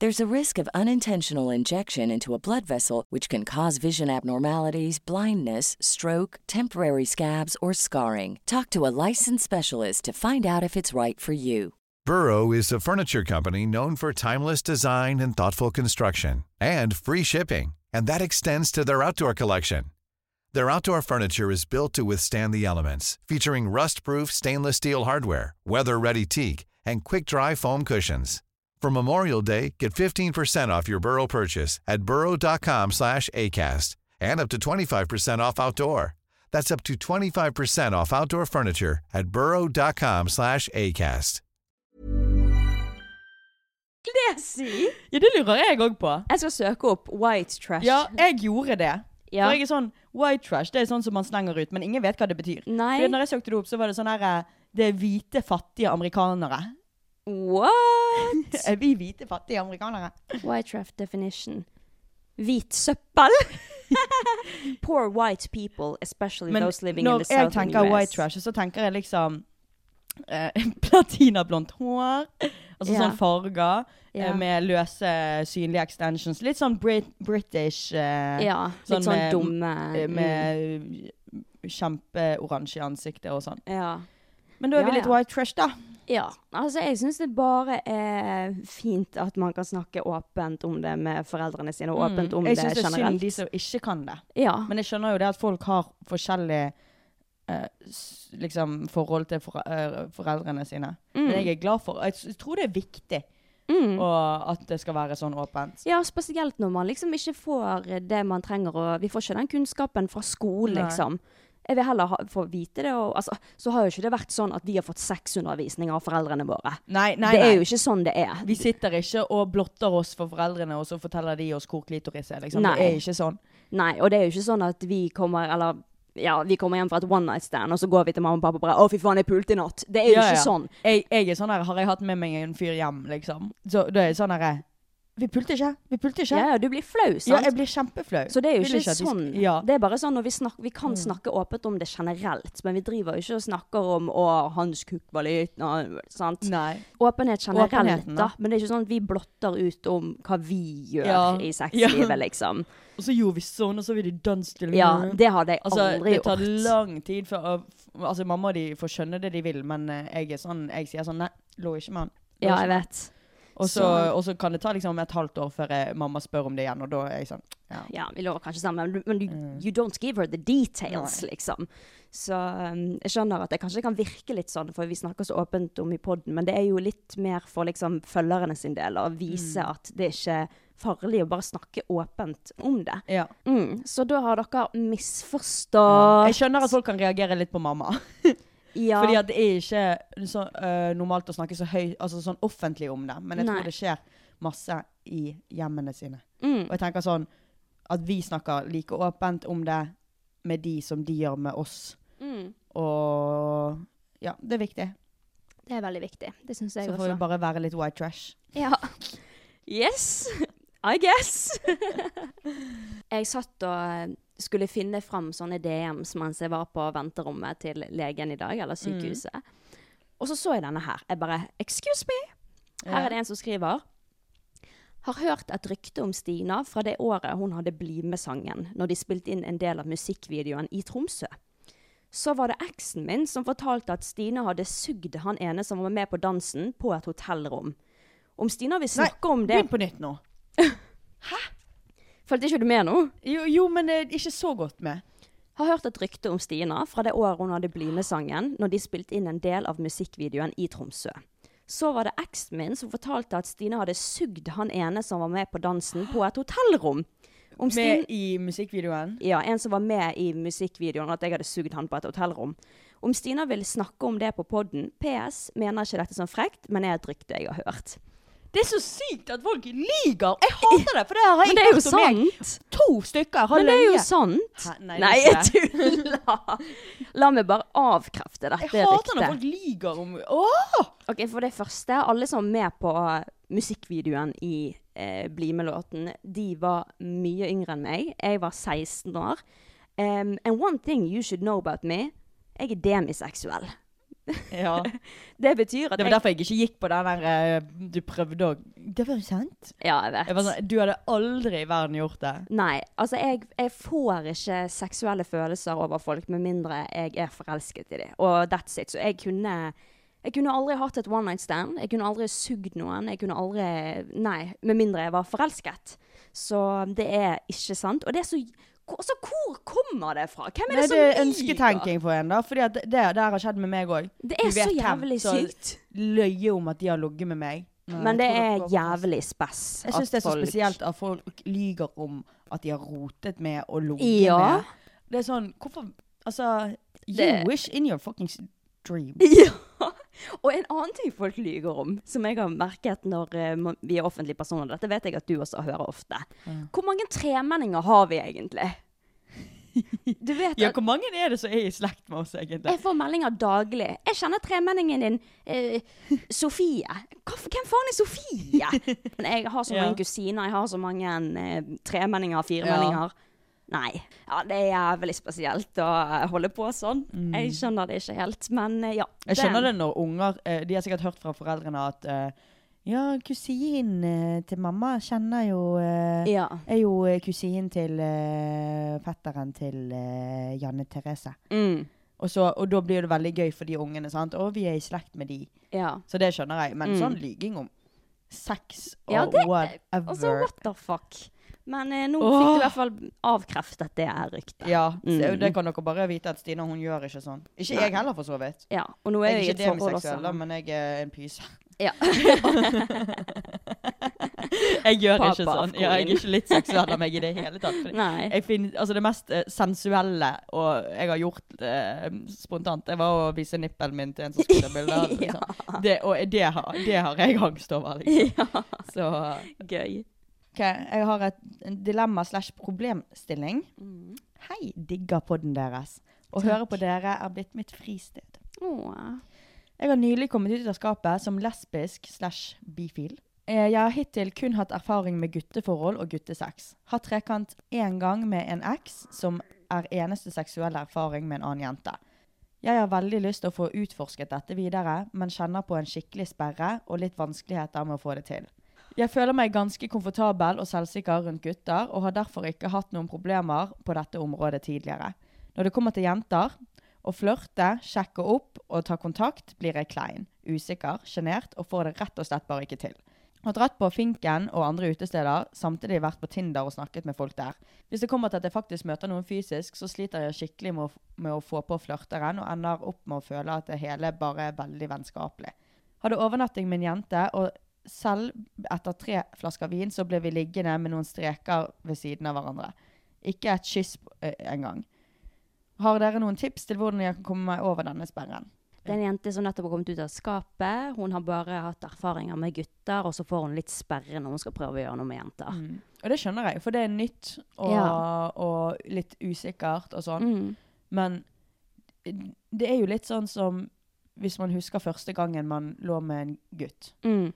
There's a risk of unintentional injection into a blood vessel, which can cause vision abnormalities, blindness, stroke, temporary scabs, or scarring. Talk to a licensed specialist to find out if it's right for you.
Burrow is a furniture company known for timeless design and thoughtful construction and free shipping, and that extends to their outdoor collection. Their outdoor furniture is built to withstand the elements, featuring rust-proof stainless steel hardware, weather-ready teak, and quick-dry foam cushions. For Memorial Day, get 15% off your Burrow purchase at burrow.com/acast and up to 25% off outdoor. That's up to 25% off outdoor furniture at burrow.com/acast.
Glesi!
Ja, det lurer jeg òg på.
Jeg skal søke opp white trash.
Ja, jeg gjorde det.
Ja.
For jeg er sånn white trash. Det er sånn som man slenger ut, men ingen vet hva det betyr.
Nei.
Fordi Når jeg søkte det opp, så var det sånn her eh, Det er hvite, fattige amerikanere.
What?
Er vi hvite, fattige amerikanere?
White trash definition. Hvit søppel! Poor white people, especially
Men
those living in
når
the
jeg
southern
tenker
US.
white trash, så tenker jeg liksom eh, platinablondt hår Altså
Ja.
sånn farger eh,
Ja.
med løse, synlige extensions. Litt sånn brit British eh,
Ja, litt sånn
med-
dumme,
eh, Med kjempeoransje i ansiktet og sånn.
mm. Ja.
Men da er
Ja,
vi litt
ja.
white trash, da.
Ja, altså jeg syns det bare er fint at man kan snakke åpent om det med foreldrene sine, og åpent om
Mm. jeg
det
synes det er synd
generelt.
de som ikke kan det.
Ja.
Men jeg skjønner jo det at folk har forskjellig eh, s- liksom forhold til fore- eh, foreldrene sine.
Mm.
Men jeg er glad for Jeg s- tror det er viktig
Mm.
å- at det skal være sånn åpent.
Ja, spesielt når man liksom ikke får det man trenger, og vi får ikke den kunnskapen fra skolen,
Nei.
liksom. Jeg vil heller ha, få vite det, og altså, så har jo ikke det vært sånn at vi har fått sexundervisning av foreldrene våre.
Nei, nei,
det er
nei.
jo ikke sånn det er.
Vi sitter ikke og blotter oss for foreldrene, og så forteller de oss hvor klitoris er. Liksom.
Nei.
Det er ikke sånn.
Nei, og det er jo ikke sånn at vi kommer, eller ja, vi kommer hjem fra et one night stand, og så går vi til mamma og pappa og bare 'Å, fy faen, jeg pulte i natt'. Det er jo
Ja,
ikke
ja.
sånn.
Jeg, jeg er sånn her, har jeg hatt med meg en fyr hjem, liksom. Så da er jeg sånn her Vi pulte ikke! Vi pulte ikke!
Ja, ja, du blir flau,
Ja,
sant?
jeg blir kjempeflau.
Så det er jo
Vil
ikke,
at de sk-
sånn.
Ja. Mm.
Det er bare sånn når vi snakker Vi kan snakke åpent om det generelt, men vi driver jo ikke og snakker om 'Å, hans kukk var litt nå, Sant?
Nei.
Åpenhet generelt,
Åpenheten,
da.
da.
Men det er ikke sånn at vi blotter ut om hva vi gjør
Ja.
i
Ja.
sexlivet, liksom.
Og så gjorde vi sånn, og så ville de dans til
Ja, det hadde jeg
Altså,
aldri
det tar
gjort.
lang tid før Altså, mamma og de får skjønne det de vil, men eh, jeg er sånn Jeg sier sånn Nei, lå ikke med han. Lå
Ja,
ikke
jeg
med han."
vet. Sånn.
Og så,
så-
og så kan det ta liksom et halvt år før eh, mamma spør om det igjen, og da er jeg sånn Ja.
Ja, vi lå kanskje sammen, men du- men
Mm.
you, you don't give her the details, liksom. Så um, jeg skjønner at jeg kanskje kan virke litt sånn, for vi snakker så åpent om i podden, men det er jo litt mer for liksom følgerne sin del, å vise
Mm.
at det er ikke farlig å bare snakke åpent om det.
ja.
Mm, så da har dere misforstått.
Jeg skjønner at folk kan reagere litt på mamma.
Ja,
Fordi at det er ikke så, eh, normalt å snakke så høy, altså sånn offentlig om det. Men jeg
Nei.
tror det skjer masse i hjemmene sine.
mm,
Og jeg tenker sånn at vi snakker like åpent om det med de som de gjør med oss.
mm,
Og ja, det er viktig.
det er veldig viktig. Det synes jeg
Så
også.
får vi bare være litt white trash.
Ja. Yes, I guess. jeg satt og eh, skulle finne fram sånne DMs mens jeg var på venterommet til legen i dag, eller sykehuset. Og så så jeg denne her. Jeg bare Excuse me! Her er det en som skriver. Har hørt et rykte om Stina fra det året hun hadde Bli med-sangen, når de spilte inn en del av musikkvideoen i Tromsø. Så var det eksen min som fortalte at Stina hadde sugd han ene som var med på dansen, på et hotellrom. Om Stina vil snakke om det
Begynn på nytt nå.
Fulgte ikke du med nå?
Jo, jo men eh, ikke så godt med.
Har hørt et rykte om Stina fra det året hun hadde Bli med-sangen, når de spilte inn en del av musikkvideoen i Tromsø. Så var det eksen min som fortalte at Stina hadde sugd han ene som var med på dansen, på et hotellrom. Om Stin-
Med i musikkvideoen.
Ja, en som var med i musikkvideoen, at jeg hadde sugd han på et hotellrom. Om Stina vil snakke om det på podden, PS, mener ikke dette som frekt, men er et rykte jeg har hørt.
Det er så sykt at folk lyger! Jeg hater det, for Eh, det har jeg
Men det er jo
hørt om jeg.
sant!
To stykker har
Men det er jo
løyet.
sant!
Hæ? Nei, det er
Nei,
ikke
jeg tuller! La meg bare avkrefte dette
Jeg
ryktet.
hater når folk lyger om Åh!
Ok, For det første, alle som var med på musikkvideoen i eh, Bli med-låten, de var mye yngre enn meg. Jeg var 16 år. Um, and one thing you should know about me, jeg er demiseksuell.
Ja.
Det betyr at
Det var
jeg,
derfor jeg ikke gikk på den der eh, Du prøvde å Det var jo sant.
Ja, jeg vet.
Jeg var sånn, du hadde aldri i verden gjort det.
Nei, altså jeg, jeg får ikke seksuelle følelser over folk med mindre jeg er forelsket i dem. Og that's it. Så jeg kunne jeg kunne aldri hatt et one night stand. Jeg kunne aldri sugd noen. Jeg kunne aldri Nei, med mindre jeg var forelsket. Så det er ikke sant. Og det er så hvor- Altså, hvor kommer det fra? Hvem er
Nei,
det som
det er sånn
liker?
ønsketenking for en, da. Fordi at det, det der har skjedd med meg òg.
Det er
Vi vet
så
hvem
jævlig
som
sykt.
Løye om at de har ligget med meg. Nei,
Men det
jeg tror
er
dere-
jævlig spess.
Jeg syns
at
det er så
folk-
spesielt at folk lyger om at de har rotet med og ligget
Ja.
med. Det er sånn Hvorfor Altså You
Det-
wish in your fucking dream.
Ja. Og en annen ting folk lyver om, som jeg har merket når eh, man- vi er offentlige personer, dette vet jeg at du også hører ofte. Hvor mange tremenninger har vi egentlig? Du vet
Ja,
at
hvor mange er det som er i slekt med oss, egentlig?
jeg får meldinger daglig. Jeg kjenner tremenningen din, eh, Sofie. Hva, f- hvem faen er Sofie? Men jeg har så
Ja.
mange kusiner, jeg har så mange eh, tremenninger, firemenninger. Nei. Ja, det er jævlig spesielt å holde på sånn.
Mm.
Jeg skjønner det ikke helt, men eh, ja.
Jeg skjønner det når unger eh, De har sikkert hørt fra foreldrene at eh, Ja, kusinen eh, til mamma kjenner jo eh,
Ja.
Er jo eh, kusinen til eh, fetteren til eh, Janne Therese.
Mm.
Og, så, og da blir det veldig gøy for de ungene. sant? Å, vi er i slekt med de.
Ja.
Så det skjønner jeg. Men
Mm.
sånn lyging om sex og
Ja, det-
whatever
Altså, what the fuck? Men eh, nå
Åh.
fikk du i hvert fall avkreftet det ryktet.
Ja, så
Mm.
det kan dere bare vite at Stine hun gjør ikke sånn. Ikke
Nei.
jeg heller, for så vidt.
Ja, og nå er jeg i
jeg
et forhold også.
demiseksuell, da, men jeg er en pyse.
Ja.
Jeg gjør
Papa
ikke sånn.
of
Ja, jeg er
queen.
ikke litt seksuell av meg i det hele tatt. fordi
Nei.
Jeg finner, altså det mest eh, sensuelle og jeg har gjort eh, spontant, det var å vise nippelen min til en som skulle ta bilder. liksom. det, og det har, det har jeg angst over, liksom. Så
Gøy.
Ok, jeg har et dilemma slash problemstilling. Hei, digger podden deres. Å
Takk.
høre på dere er blitt mitt fristed.
Åh.
Jeg har nylig kommet ut av skapet som lesbisk slash bifil. Eh, Jeg har hittil kun hatt erfaring med gutteforhold og guttesex. Har trekant én gang med en eks som er eneste seksuelle erfaring med en annen jente. Jeg har veldig lyst til å få utforsket dette videre, men kjenner på en skikkelig sperre og litt vanskeligheter med å få det til. Jeg føler meg ganske komfortabel og selvsikker rundt gutter, og har derfor ikke hatt noen problemer på dette området tidligere. Når det kommer til jenter, å flørte, sjekke opp og ta kontakt, blir jeg klein, usikker, sjenert og får det rett og slett bare ikke til. Har dratt på Finken og andre utesteder, samtidig vært på Tinder og snakket med folk der. Hvis det kommer til at jeg faktisk møter noen fysisk, så sliter jeg skikkelig med å, med å få på flørteren, og ender opp med å føle at det hele bare er veldig vennskapelig. Hadde overnatting med en jente, og selv etter tre flasker vin så ble vi liggende med noen streker ved siden av hverandre. Ikke et kyss eh, engang. Har dere noen tips til hvordan jeg kan komme meg over denne sperren?
Det er en jente som nettopp har kommet ut av skapet. Hun har bare hatt erfaringer med gutter, og så får hun litt sperre når hun skal prøve å gjøre noe med jenter.
Mm. Og det skjønner jeg, for det er nytt og,
Ja.
og litt usikkert og sånn.
Mm.
Men det er jo litt sånn som hvis man husker første gangen man lå med en gutt.
Mm.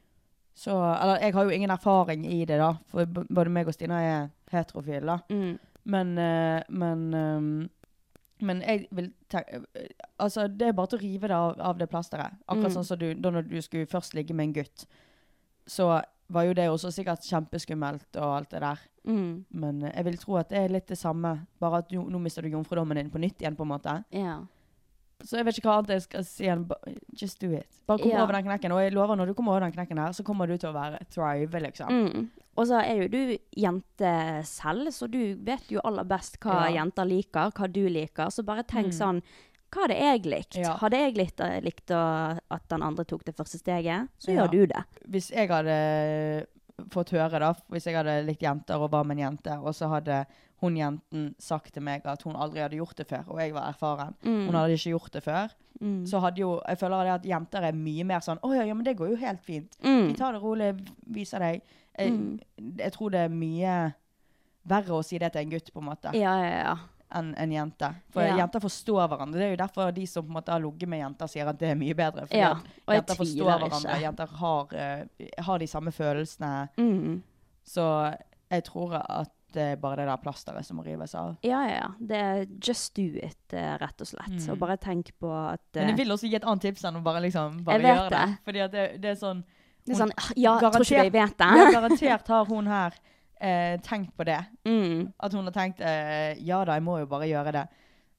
Så, eller jeg har jo ingen erfaring i det, da, for b- både meg og Stina er heterofile. da.
Mm.
Men, eh, men, ehm, men jeg vil tenke Altså, det er bare til å rive det av, av det plasteret. Akkurat
Mm.
sånn som du, da når du skulle først ligge med en gutt, så var jo det også sikkert kjempeskummelt og alt det der.
Mm.
Men eh, jeg vil tro at det er litt det samme, bare at jo, nå mister du jomfrudommen din på nytt igjen, på en måte.
Ja.
Så jeg vet ikke hva annet jeg skal si enn ba- just do it. Bare kom
Ja.
over den knekken. Og jeg lover, når du kommer over den knekken her, så kommer du til å være thrive, liksom.
Mm. Og så er jo du jente selv, så du vet jo aller best hva
Ja.
jenter liker, hva du liker. Så bare tenk
Mm.
sånn Hva hadde jeg likt?
Ja.
Hadde jeg likt, eh, likt å, at den andre tok det første steget, så
Ja.
gjør du det.
hvis jeg hadde fått høre da, hvis jeg hadde likt jenter og var med en jente, og så hadde hun jenten sagt til meg at hun aldri hadde gjort det før, og jeg var erfaren.
Mm.
Hun hadde ikke gjort det før.
Mm.
Så hadde jo, jeg føler det at jenter er mye mer sånn, åja, ja, men det går jo helt fint.
Mm.
Vi tar det rolig, viser deg. Jeg,
Mm.
jeg tror det er mye verre å si det til en gutt, på en måte,
Ja, ja, ja.
enn en jente. For
Ja.
jenter forstår hverandre. Det er jo derfor de som på en måte har ligget med jenter sier at det er mye bedre. Fordi
Ja,
at
og jeg
jenter forstår
tviler
hverandre.
ikke.
Jenter har, eh, har de samme følelsene.
Mm.
Så jeg tror at det er bare det der plasteret som må rives av.
Ja, ja, ja. Det er just do it, eh, rett og slett.
Mm.
Og bare tenk på at
Men jeg
eh,
vil også gi et annet tips enn å bare, liksom, bare
Jeg vet
gjøre det.
det.
Fordi at det, det er sånn
Det er
hun-
sånn «Ah, Ja, tror ikke
Garantert-
de vet det.
Ja, garantert har hun her eh, tenkt på det.
Mm.
At hun har tenkt eh, Ja da, jeg må jo bare gjøre det.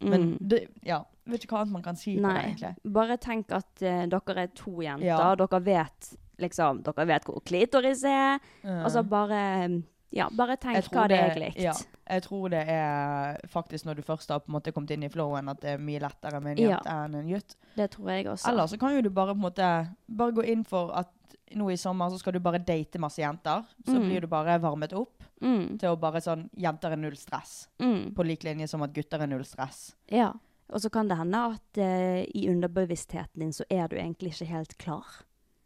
Men
Mm.
det, ja, vet ikke hva annet man kan si på det,
Nei.
egentlig.
Bare tenk at eh, dere er to jenter.
Ja.
Dere vet liksom Dere vet hvor klitoris er.
Mm.
Altså bare Ja, bare
Jeg
tenk
tror
hva det er jeg likte.
Ja, jeg tror det er faktisk når du først har på en måte kommet inn i flowen, at det er mye lettere med en
Ja.
jente enn en gutt.
Det tror jeg også.
Eller så kan jo du bare på en måte bare gå inn for at nå i sommer så skal du bare date masse jenter. Så
Mm.
blir du bare varmet opp
mm.
til å bare sånn Jenter er null stress.
Mm.
På lik linje som at gutter er null stress.
Ja. Og så kan det hende at eh, i underbevisstheten din så er du egentlig ikke helt klar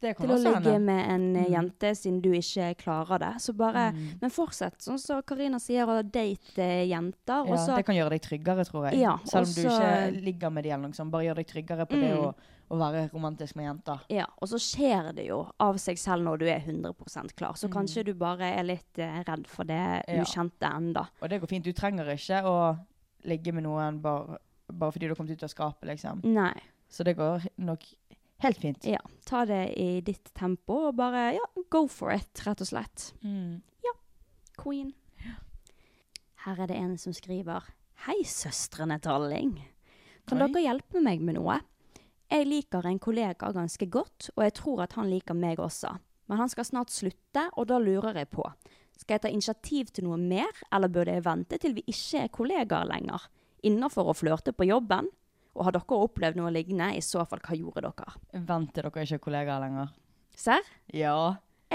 Det kan
til å
også
ligge
hende.
med en eh,
Mm.
jente, siden du ikke klarer det. Så bare
Mm.
Men fortsett sånn som Karina sier, å date eh, jenter.
Ja,
og så
det kan gjøre deg tryggere, tror jeg.
Ja,
Selv om du
også-
ikke ligger med de eller noe sånt. Bare gjør deg tryggere på det
Mm.
å, å være romantisk med jenter.
Ja, og så skjer det jo av seg selv når du er 100 klar. Så kanskje du bare er litt eh, redd for det
Ja.
ukjente enda.
Og det går fint. Du trenger ikke å ligge med noen bare, bare fordi du har kommet ut av skapet, liksom.
Nei.
Så det går nok Helt fint.
Ja, ta det i ditt tempo og bare ja, go for it, rett og slett.
Mm.
Ja, queen. Her er det en som skriver Hei, søstrene Dalling. Kan
Oi.
dere hjelpe meg med noe? Jeg liker en kollega ganske godt, og jeg tror at han liker meg også. Men han skal snart slutte, og da lurer jeg på. Skal jeg ta initiativ til noe mer, eller burde jeg vente til vi ikke er kollegaer lenger? Innafor å flørte på jobben? Og har dere opplevd noe lignende? I så fall, hva gjorde dere?
Vent til dere ikke er kollegaer lenger.
Serr?
Ja.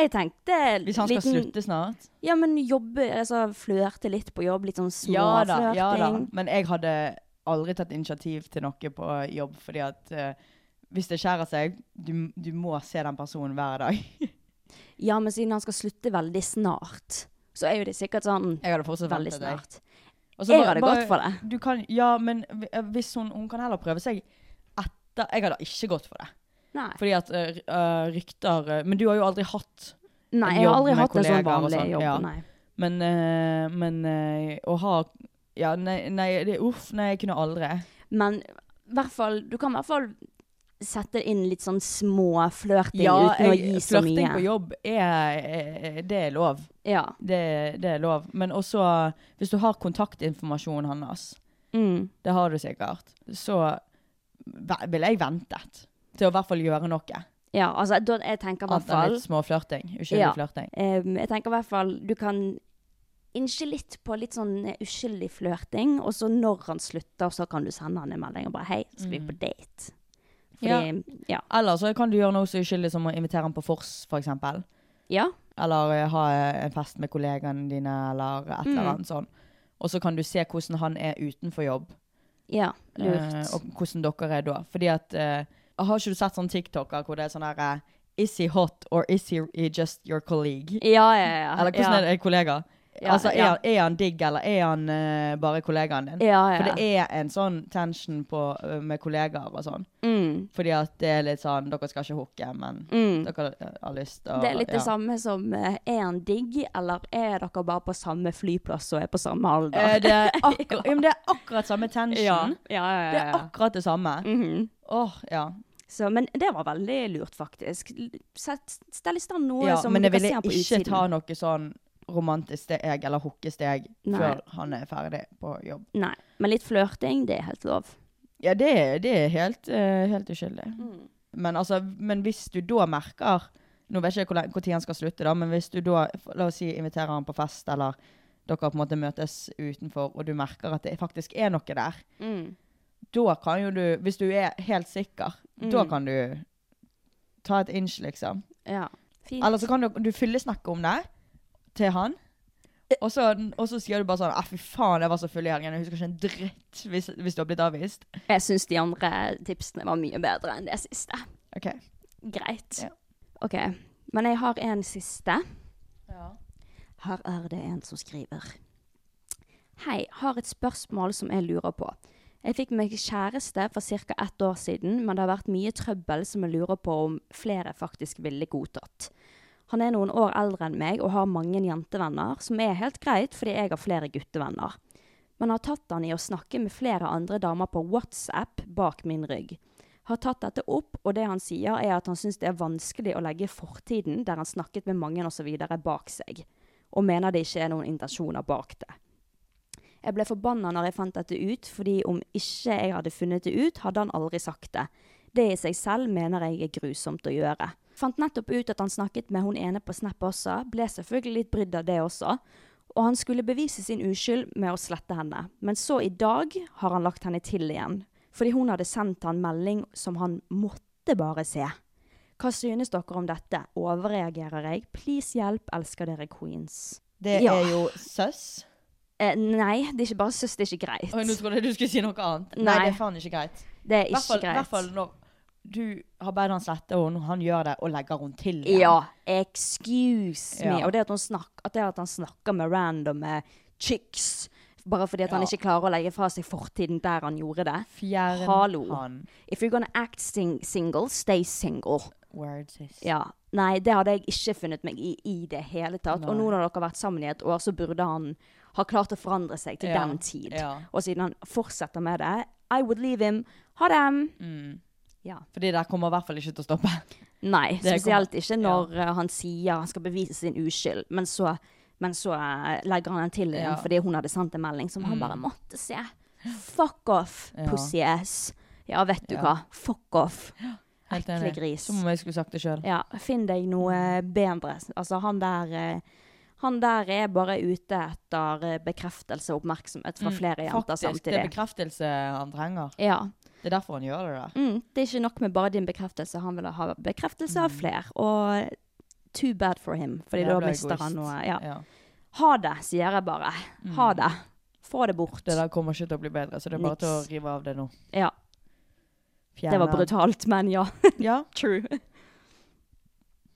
Jeg tenkte
Hvis han skal slutte snart.
Ja, men jobbe, altså flørte litt på jobb, litt sånn
Ja da,
småflørting.
ja da. Men jeg hadde aldri tatt initiativ til noe på jobb, fordi at eh, hvis det skjærer seg, du, du må se den personen hver dag.
Ja, men siden han skal slutte veldig snart, så er jo det sikkert sånn
Jeg hadde fortsatt
veldig
ventet deg.
snart.
Og så
Jeg
bare-
hadde
bare-
gått for det.
Du kan, ja, men vi- eh, hvis hun, hun kan heller prøve seg etter Jeg hadde ikke gått for det.
Nei.
Fordi at eh, r- eh, rykter eh, Men du har jo aldri hatt en
Nei, jeg har
jobb
aldri
med
hatt en sånn
kollegaer og
vanlig
sånn,
jobb.
ja.
Nei.
Men, eh, men eh, å ha Ja, nei, nei det, uff, nei, jeg kunne aldri.
Men i hvert fall, du kan i hvert fall sette inn litt sånn småflørting
Ja,
uten å
jeg-
gi så
Flørting
mye.
på jobb er, er Det er lov.
Ja.
Det, det er lov. Men også hvis du har kontaktinformasjonen hans,
Mm.
det har du sikkert, så ve- ville jeg ventet til å i hvert fall gjøre noe.
ja, altså da, jeg tenker i
Annet
hvert
enn
fall
litt småflørting. Uskyldig
Ja.
flørting.
Em, jeg tenker i hvert fall du kan innse litt på litt sånn eh, uskyldig flørting, og så når han slutter, så kan du sende han en melding og bare 'Hei,
Mm.
skal vi på date?' Fordi, ja.
Eller så kan du gjøre noe så uskyldig som å invitere ham på vors, for eksempel.
Ja.
Eller eh, ha en fest med kollegaene dine, eller et eller
Mm.
annet sånn. Og så kan du se hvordan han er utenfor jobb.
Ja, lurt.
eh, og hvordan dere er da. Fordi at eh, Har ikke du sett sånne TikToker hvor det er sånn her eh, Is he hot, or is he just your colleague?
Ja, ja, ja.
Eller hvordan
ja.
er det er kollega?
Ja,
altså, er,
ja.
han, er han digg, eller er han eh, bare kollegaen din?
Ja, ja.
For det er en sånn tension på, eh, med kollegaer og sånn.
Mm.
Fordi at det er litt sånn Dere skal ikke hooke, men
Mm.
dere eh, har lyst til å
Det er litt
ja.
det samme som eh, er han digg, eller er dere bare på samme flyplass og er på samme alder?
Eh, det, er akkur- ja, men det er akkurat samme tension.
Ja, ja, ja, ja,
Det er
ja.
akkurat det samme. Åh,
Mhm.
ja.
Så, men det var veldig lurt, faktisk. Sett, stell i stand noe
ja.
som
Men
liksom, du
jeg
kan
ville
se på
ikke
utsiden.
ta noe sånn romantisk steg eller hookesteg
Nei.
før han er ferdig på jobb.
Nei, men litt flørting, det er helt lov.
Ja, det, er- det er helt, eh, helt uskyldig.
Mm.
Men, altså, men hvis du da merker Nå vet jeg ikke hvor lenge- hvor tid han skal slutte, da, men hvis du da la oss si, inviterer han på fest, eller dere på en måte møtes utenfor, og du merker at det faktisk er noe der, Mm. da kan jo du Hvis du er helt sikker, da
Mm.
kan du ta et inch, liksom.
Ja, fint.
Eller så kan du, du fyllesnakke om det til han. Og så, og så sier du bare sånn «Ah, 'Fy faen, jeg var så full i helgen. Jeg husker ikke en dritt.' Hvis, hvis du har blitt avvist.
Jeg syns de andre tipsene var mye bedre enn det siste.
OK.
Greit.
Ja.
OK. Men jeg har en siste. Her er det en som skriver. Hei, har et spørsmål som jeg lurer på. Jeg fikk meg kjæreste for ca. ett år siden, men det har vært mye trøbbel som jeg lurer på om flere faktisk ville godtatt. Han er noen år eldre enn meg og har mange jentevenner, som er helt greit fordi jeg har flere guttevenner. Men har tatt han i å snakke med flere andre damer på WhatsApp bak min rygg. Har tatt dette opp, og det han sier er at han syns det er vanskelig å legge fortiden, der han snakket med mange osv., bak seg. Og mener det ikke er noen intensjoner bak det. Jeg ble forbanna når jeg fant dette ut, fordi om ikke jeg hadde funnet det ut, hadde han aldri sagt det. Det i seg selv mener jeg er grusomt å gjøre. Fant nettopp ut at han snakket med hun ene på Snap også, ble selvfølgelig litt brydd av det også. Og han skulle bevise sin uskyld med å slette henne. Men så i dag har han lagt henne til igjen. Fordi hun hadde sendt han melding som han måtte bare se. Hva synes dere om dette? Overreagerer jeg? Please hjelp, elsker dere queens.
Det
Ja.
er jo søss.
Eh, nei, det er ikke bare søs, det er ikke greit.
Oi, nå trodde jeg du skulle si noe annet. Nei,
Nei.
det er faen ikke greit.
Det er ikke
Hvertfall-
greit.
hvertfall når du har bedt han slette, og når han gjør det, og legger hun til igjen.
Ja, excuse me.
Ja.
Og det at, hun snak, at det at han snakker med randomme chicks, bare fordi at han
Ja.
ikke klarer å legge fra seg fortiden der han gjorde det.
Fjern
Hallo.
han.
If you're gonna act sing single, stay single.
Words is
Ja. Nei, det hadde jeg ikke funnet meg i i det hele tatt. Og nå når dere har vært sammen i et år, så burde han ha klart å forandre seg til
Ja.
den tid.
Ja.
Og siden han fortsetter med det, I would leave him. Ha det! Ja.
Fordi det kommer i hvert fall ikke til å stoppe.
Nei,
Det kommer-
spesielt ikke når eh, han sier han skal bevise sin uskyld, men så, men så eh, legger han den til igjen
Ja.
fordi hun hadde sendt en melding som han
Mm.
bare måtte se. Fuck off,
Ja.
pussy ass. Ja, vet du
Ja.
hva. Fuck off.
Helt
Ekle
enig.
gris.
Som om jeg skulle sagt det sjøl.
Ja, finn deg noe bedre. Altså, han der eh, han der er bare ute etter eh, bekreftelse og oppmerksomhet fra flere jenter
Mm, Det er
samtidig.
bekreftelse han trenger.
Ja.
Det er derfor han gjør det. da.
Mm, det er ikke nok med bare din bekreftelse, han vil ha bekreftelse
Mm.
av flere. Og too bad for him, fordi
Jævla
da mister
egoist.
han noe. Ja.
Ja. Mm.
Ha det, sier jeg bare. Ha det. Få det bort.
Det der kommer ikke til å bli bedre, så det er bare til å
Niks.
rive av det nå.
Ja,
Fjerne
det var
han.
brutalt, men ja.
Ja.
True.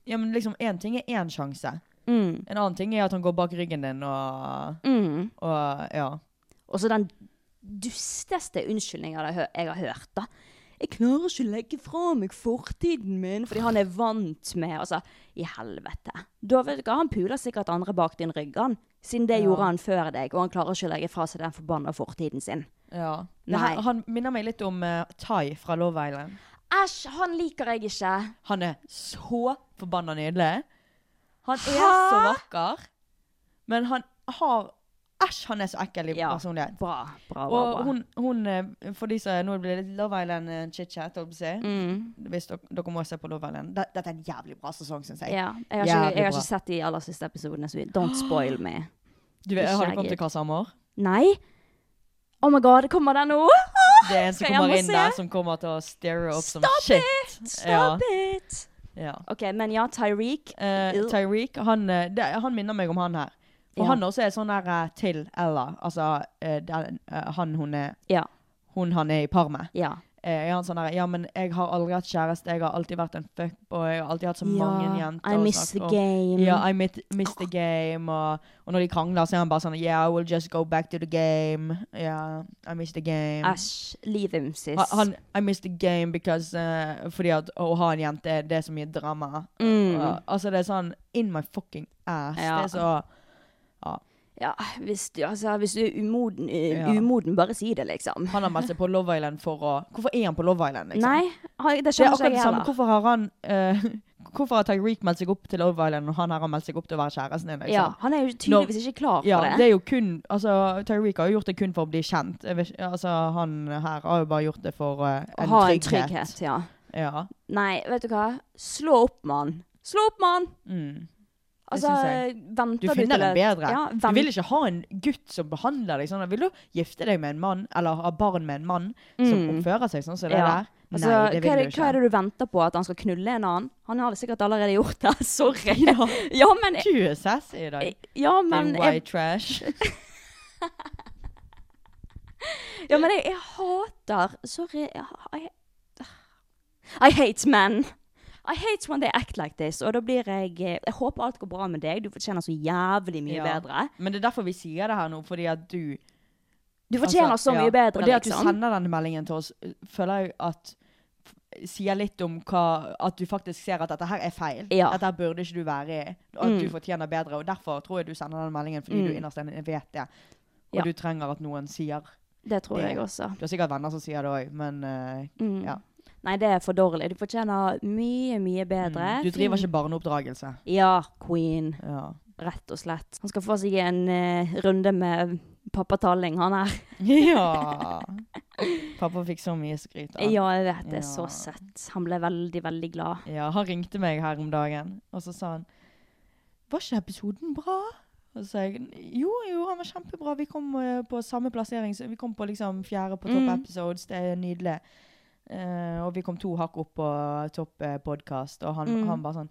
ja, men liksom én ting er én sjanse.
Mm.
En annen ting er at han går bak ryggen din og,
Mm.
og ja.
Og så den dusteste unnskyldningen jeg har hø- jeg har hørt, da. Jeg klarer ikke å legge fra meg fortiden min, fordi han er vant med Altså, i helvete. Da vet du hva, Han puler sikkert andre bak din rygg, han. Siden det
Ja.
gjorde han før deg, og han klarer ikke å legge fra seg den forbanna fortiden sin.
ja. Det
Nei.
her, han minner meg litt om eh, Tai fra Love Island.
Æsj, han liker jeg ikke.
Han er så forbanna nydelig. Han er
Hæ?
så vakker. Men han har Æsj, han er så ekkel i
Ja.
personlighet.
Bra, bra, bra. bra.
Og hun, hun eh, for de som Nå blir det litt Love Island eh, chit-chat, holdt jeg på å si.
Mm.
Hvis dere, dere må se på Love Island. Det- Dette er en jævlig bra sesong, syns jeg.
Ja, jeg har,
Jævlig
ikke, jeg har
bra.
ikke sett de aller siste episodene, så don't spoil me.
Du vet,
Ikke
Har
jeg
det kommet til
gitt.
hva samme år?
Nei? Oh my god, kommer den nå?
Det er en som
Skal jeg
kommer
må
inn
se?
der, som kommer til å stirre opp som
Stop
shit.
it! Stop it!
Ja.
Ok, men ja, Tyreek.
Eh,
Ew.
Tyreek, han, eh, det, han minner meg om han her. For
Ja.
han også er sånn der eh, til Ella, altså eh, den, eh, han hun er
Ja.
hun han er i par med.
ja.
Eh, er han sånn der, ja, men jeg har aldri hatt kjæreste, jeg har alltid vært en fuckboy, jeg har alltid hatt så mange
Ja,
jenter.
I
å
miss
snakke
the
om.
game.
Ja, I mit, miss the game. Og, og når de krangler, så er han bare sånn, yeah, I will just go back to the game. Yeah, I miss the game.
Æsj, leave him, sis.
Ha- Han, I miss the game because eh, Fordi at å ha en jente, er- det er så mye drama.
Mm.
Og, altså, det er sånn in my fucking ass.
Ja.
Det er så
Ja, hvis du, altså, hvis du er umoden, eh,
Ja.
umoden, bare si det, liksom.
Han har meldt seg på Love Island for å Hvorfor er han på Love Island? Liksom?
Nei, han- det
Det er
skjønner ikke
akkurat
jeg
det samme.
heller.
Hvorfor har han eh, Hvorfor har Tyreek meldt seg opp til Love Island, og han her har meldt seg opp til å være kjæresten din?
Ja,
Liksom?
han er jo tydeligvis ikke klar for
Ja,
det.
det er jo kun altså, Tyreek har jo gjort det kun for å bli kjent. Jeg vet ikke- Altså, han her har jo bare gjort det for eh,
Å
en,
ha en
trygghet.
trygghet. Ja.
Ja.
Nei, vet du hva? Slå opp med han. Slå opp med han!
Mm.
Altså,
synes jeg.
venter
Du finner
til
den
et-
bedre.
Ja,
Du
vent,
vil ikke ha en gutt som behandler deg sånn. Vil du gifte deg med en mann, eller ha barn med en mann som
Mm.
oppfører seg sånn som det
Ja.
der?
altså,
Nei, det vil
hva, er det,
du
hva
ikke.
er det du venter på? At han skal knulle en annen? Han har sikkert allerede gjort det. Sorry. Ja, men,
Du er sassy i dag.
ja,
Din
Eh, men, jeg,
white trash.
ja, men jeg, jeg hater Sorry. Jeg, jeg, I hate men. I hate when they act like this. Og da blir jeg eh, Jeg håper alt går bra med deg. Du fortjener så jævlig mye
Ja.
bedre.
Men det er derfor vi sier det her nå, fordi at du
Du fortjener
altså,
så
ja.
mye bedre,
Og det at du
liksom.
sender denne meldingen til oss, eh, føler jeg at sier litt om hva At du faktisk ser at dette her er feil.
Ja.
Dette her burde ikke du være i. Og at
Mm.
du fortjener bedre. Og derfor tror jeg du sender den meldingen, fordi
Mm.
du innerst inne vet det. Og
Ja.
du trenger at noen sier
Det tror
det-
jeg også.
Du har sikkert venner som sier det òg, men eh,
Mm.
Ja.
Nei, det er for dårlig. Du fortjener mye, mye bedre.
Mm. du driver
Fin-
ikke barneoppdragelse.
Ja, queen.
Ja.
rett og slett. Han skal få seg en eh, runde med pappa Talling, han her.
ja. Pappa fikk så mye skryt. av.
Ja, jeg vet det. er Så
Ja.
søtt. Han ble veldig, veldig glad.
Ja, han ringte meg her om dagen, og så sa han Var ikke episoden bra? Og så sa jeg jo, jo, han var kjempebra. Vi kom eh, på samme plassering. så Vi kom på liksom fjerde på topp
Mm.
episodes. Det er nydelig. Eh, og vi kom to hakk opp på topp uh, podkast, og han,
Mm.
han bare sånn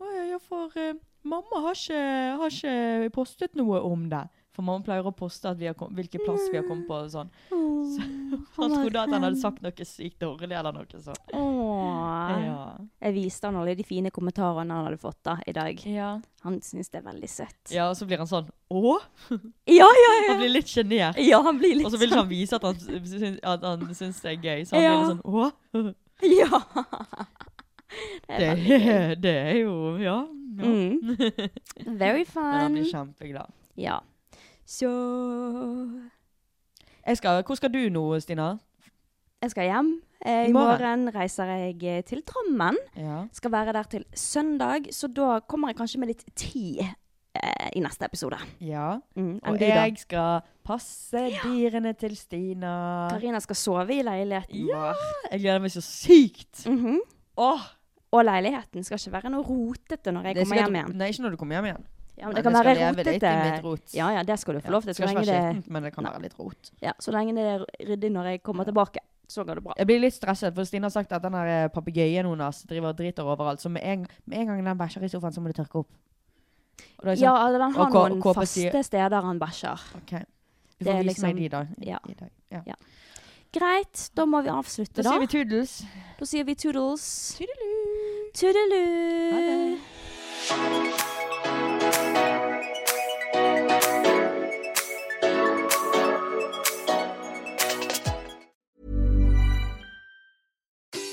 Å ja, ja, for eh, mamma har ikke, har ikke postet noe om det. For mamma pleier å poste at vi har kom, hvilken plass vi har kommet på. og sånn.
Mm. Åh,
Han
var
trodde at han hadde
pen.
sagt noe sykt dårlig eller noe sånt.
Åh.
Ja.
Jeg viste han alle de fine kommentarene han hadde fått da, i dag.
ja.
Han syns det er veldig søtt.
Ja, og så blir han sånn Å?
Ja, ja,
Han
ja!
blir litt sjenert.
Ja, han blir
Og
litt sånn.
så vil ikke han vise at han, syns- at han syns det er gøy, så han
Ja.
blir litt sånn Å?
sånn. Ja!
Det,
Det er veldig gøy.
er- det er jo Ja. ja.
Mm. Very
Men han
fun.
blir kjempeglad.
Ja. Så
Jeg skal, hvor skal du nå, Stina?
Jeg skal hjem. Eh,
I
I
morgen.
morgen reiser jeg eh, til Drammen.
Ja.
Skal være der til søndag, så da kommer jeg kanskje med litt tid eh, i neste episode.
ja.
Mm, enn
Og
du da?
jeg skal passe dyrene til Stina.
Karina skal sove i leiligheten
Ja,
vår.
jeg gleder meg så sykt.
Mhm.
Åh,
Og leiligheten skal ikke være noe rotete når jeg
det er
kommer
sikkert-
hjem igjen.
Nei, ikke når du kommer hjem igjen.
Ja, men
Men
det kan
jeg skal
være
leve litt i mitt
rotete.
rot.
Ja, ja, det skal du få lov til.
Det
Så
skal ikke
lenge
være
det,
skittent, men det kan
Nei.
være litt rot.
ja, så lenge det er ryddig når jeg kommer tilbake, så går det bra.
Jeg blir litt stresset, for Stine har sagt at den her, eh, papegøyen hennes driver og driter overalt. Så med en, med en gang den bæsjer i sofaen, så må du tørke opp. Og da er jeg
Ja,
sånn,
altså,
Og
den har
K-
noen
KP sier-
faste steder han bæsjer.
ok, Du
det
får
er
vise meg
liksom-
de, da. i-
ja.
I dag. ja.
Ja. Greit, da må vi avslutte,
Da
da.
sier vi toodles.
Da sier vi toodles.
Toodaloo. Ha
Toodaloo.
det.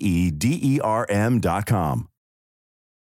E D E R M.com.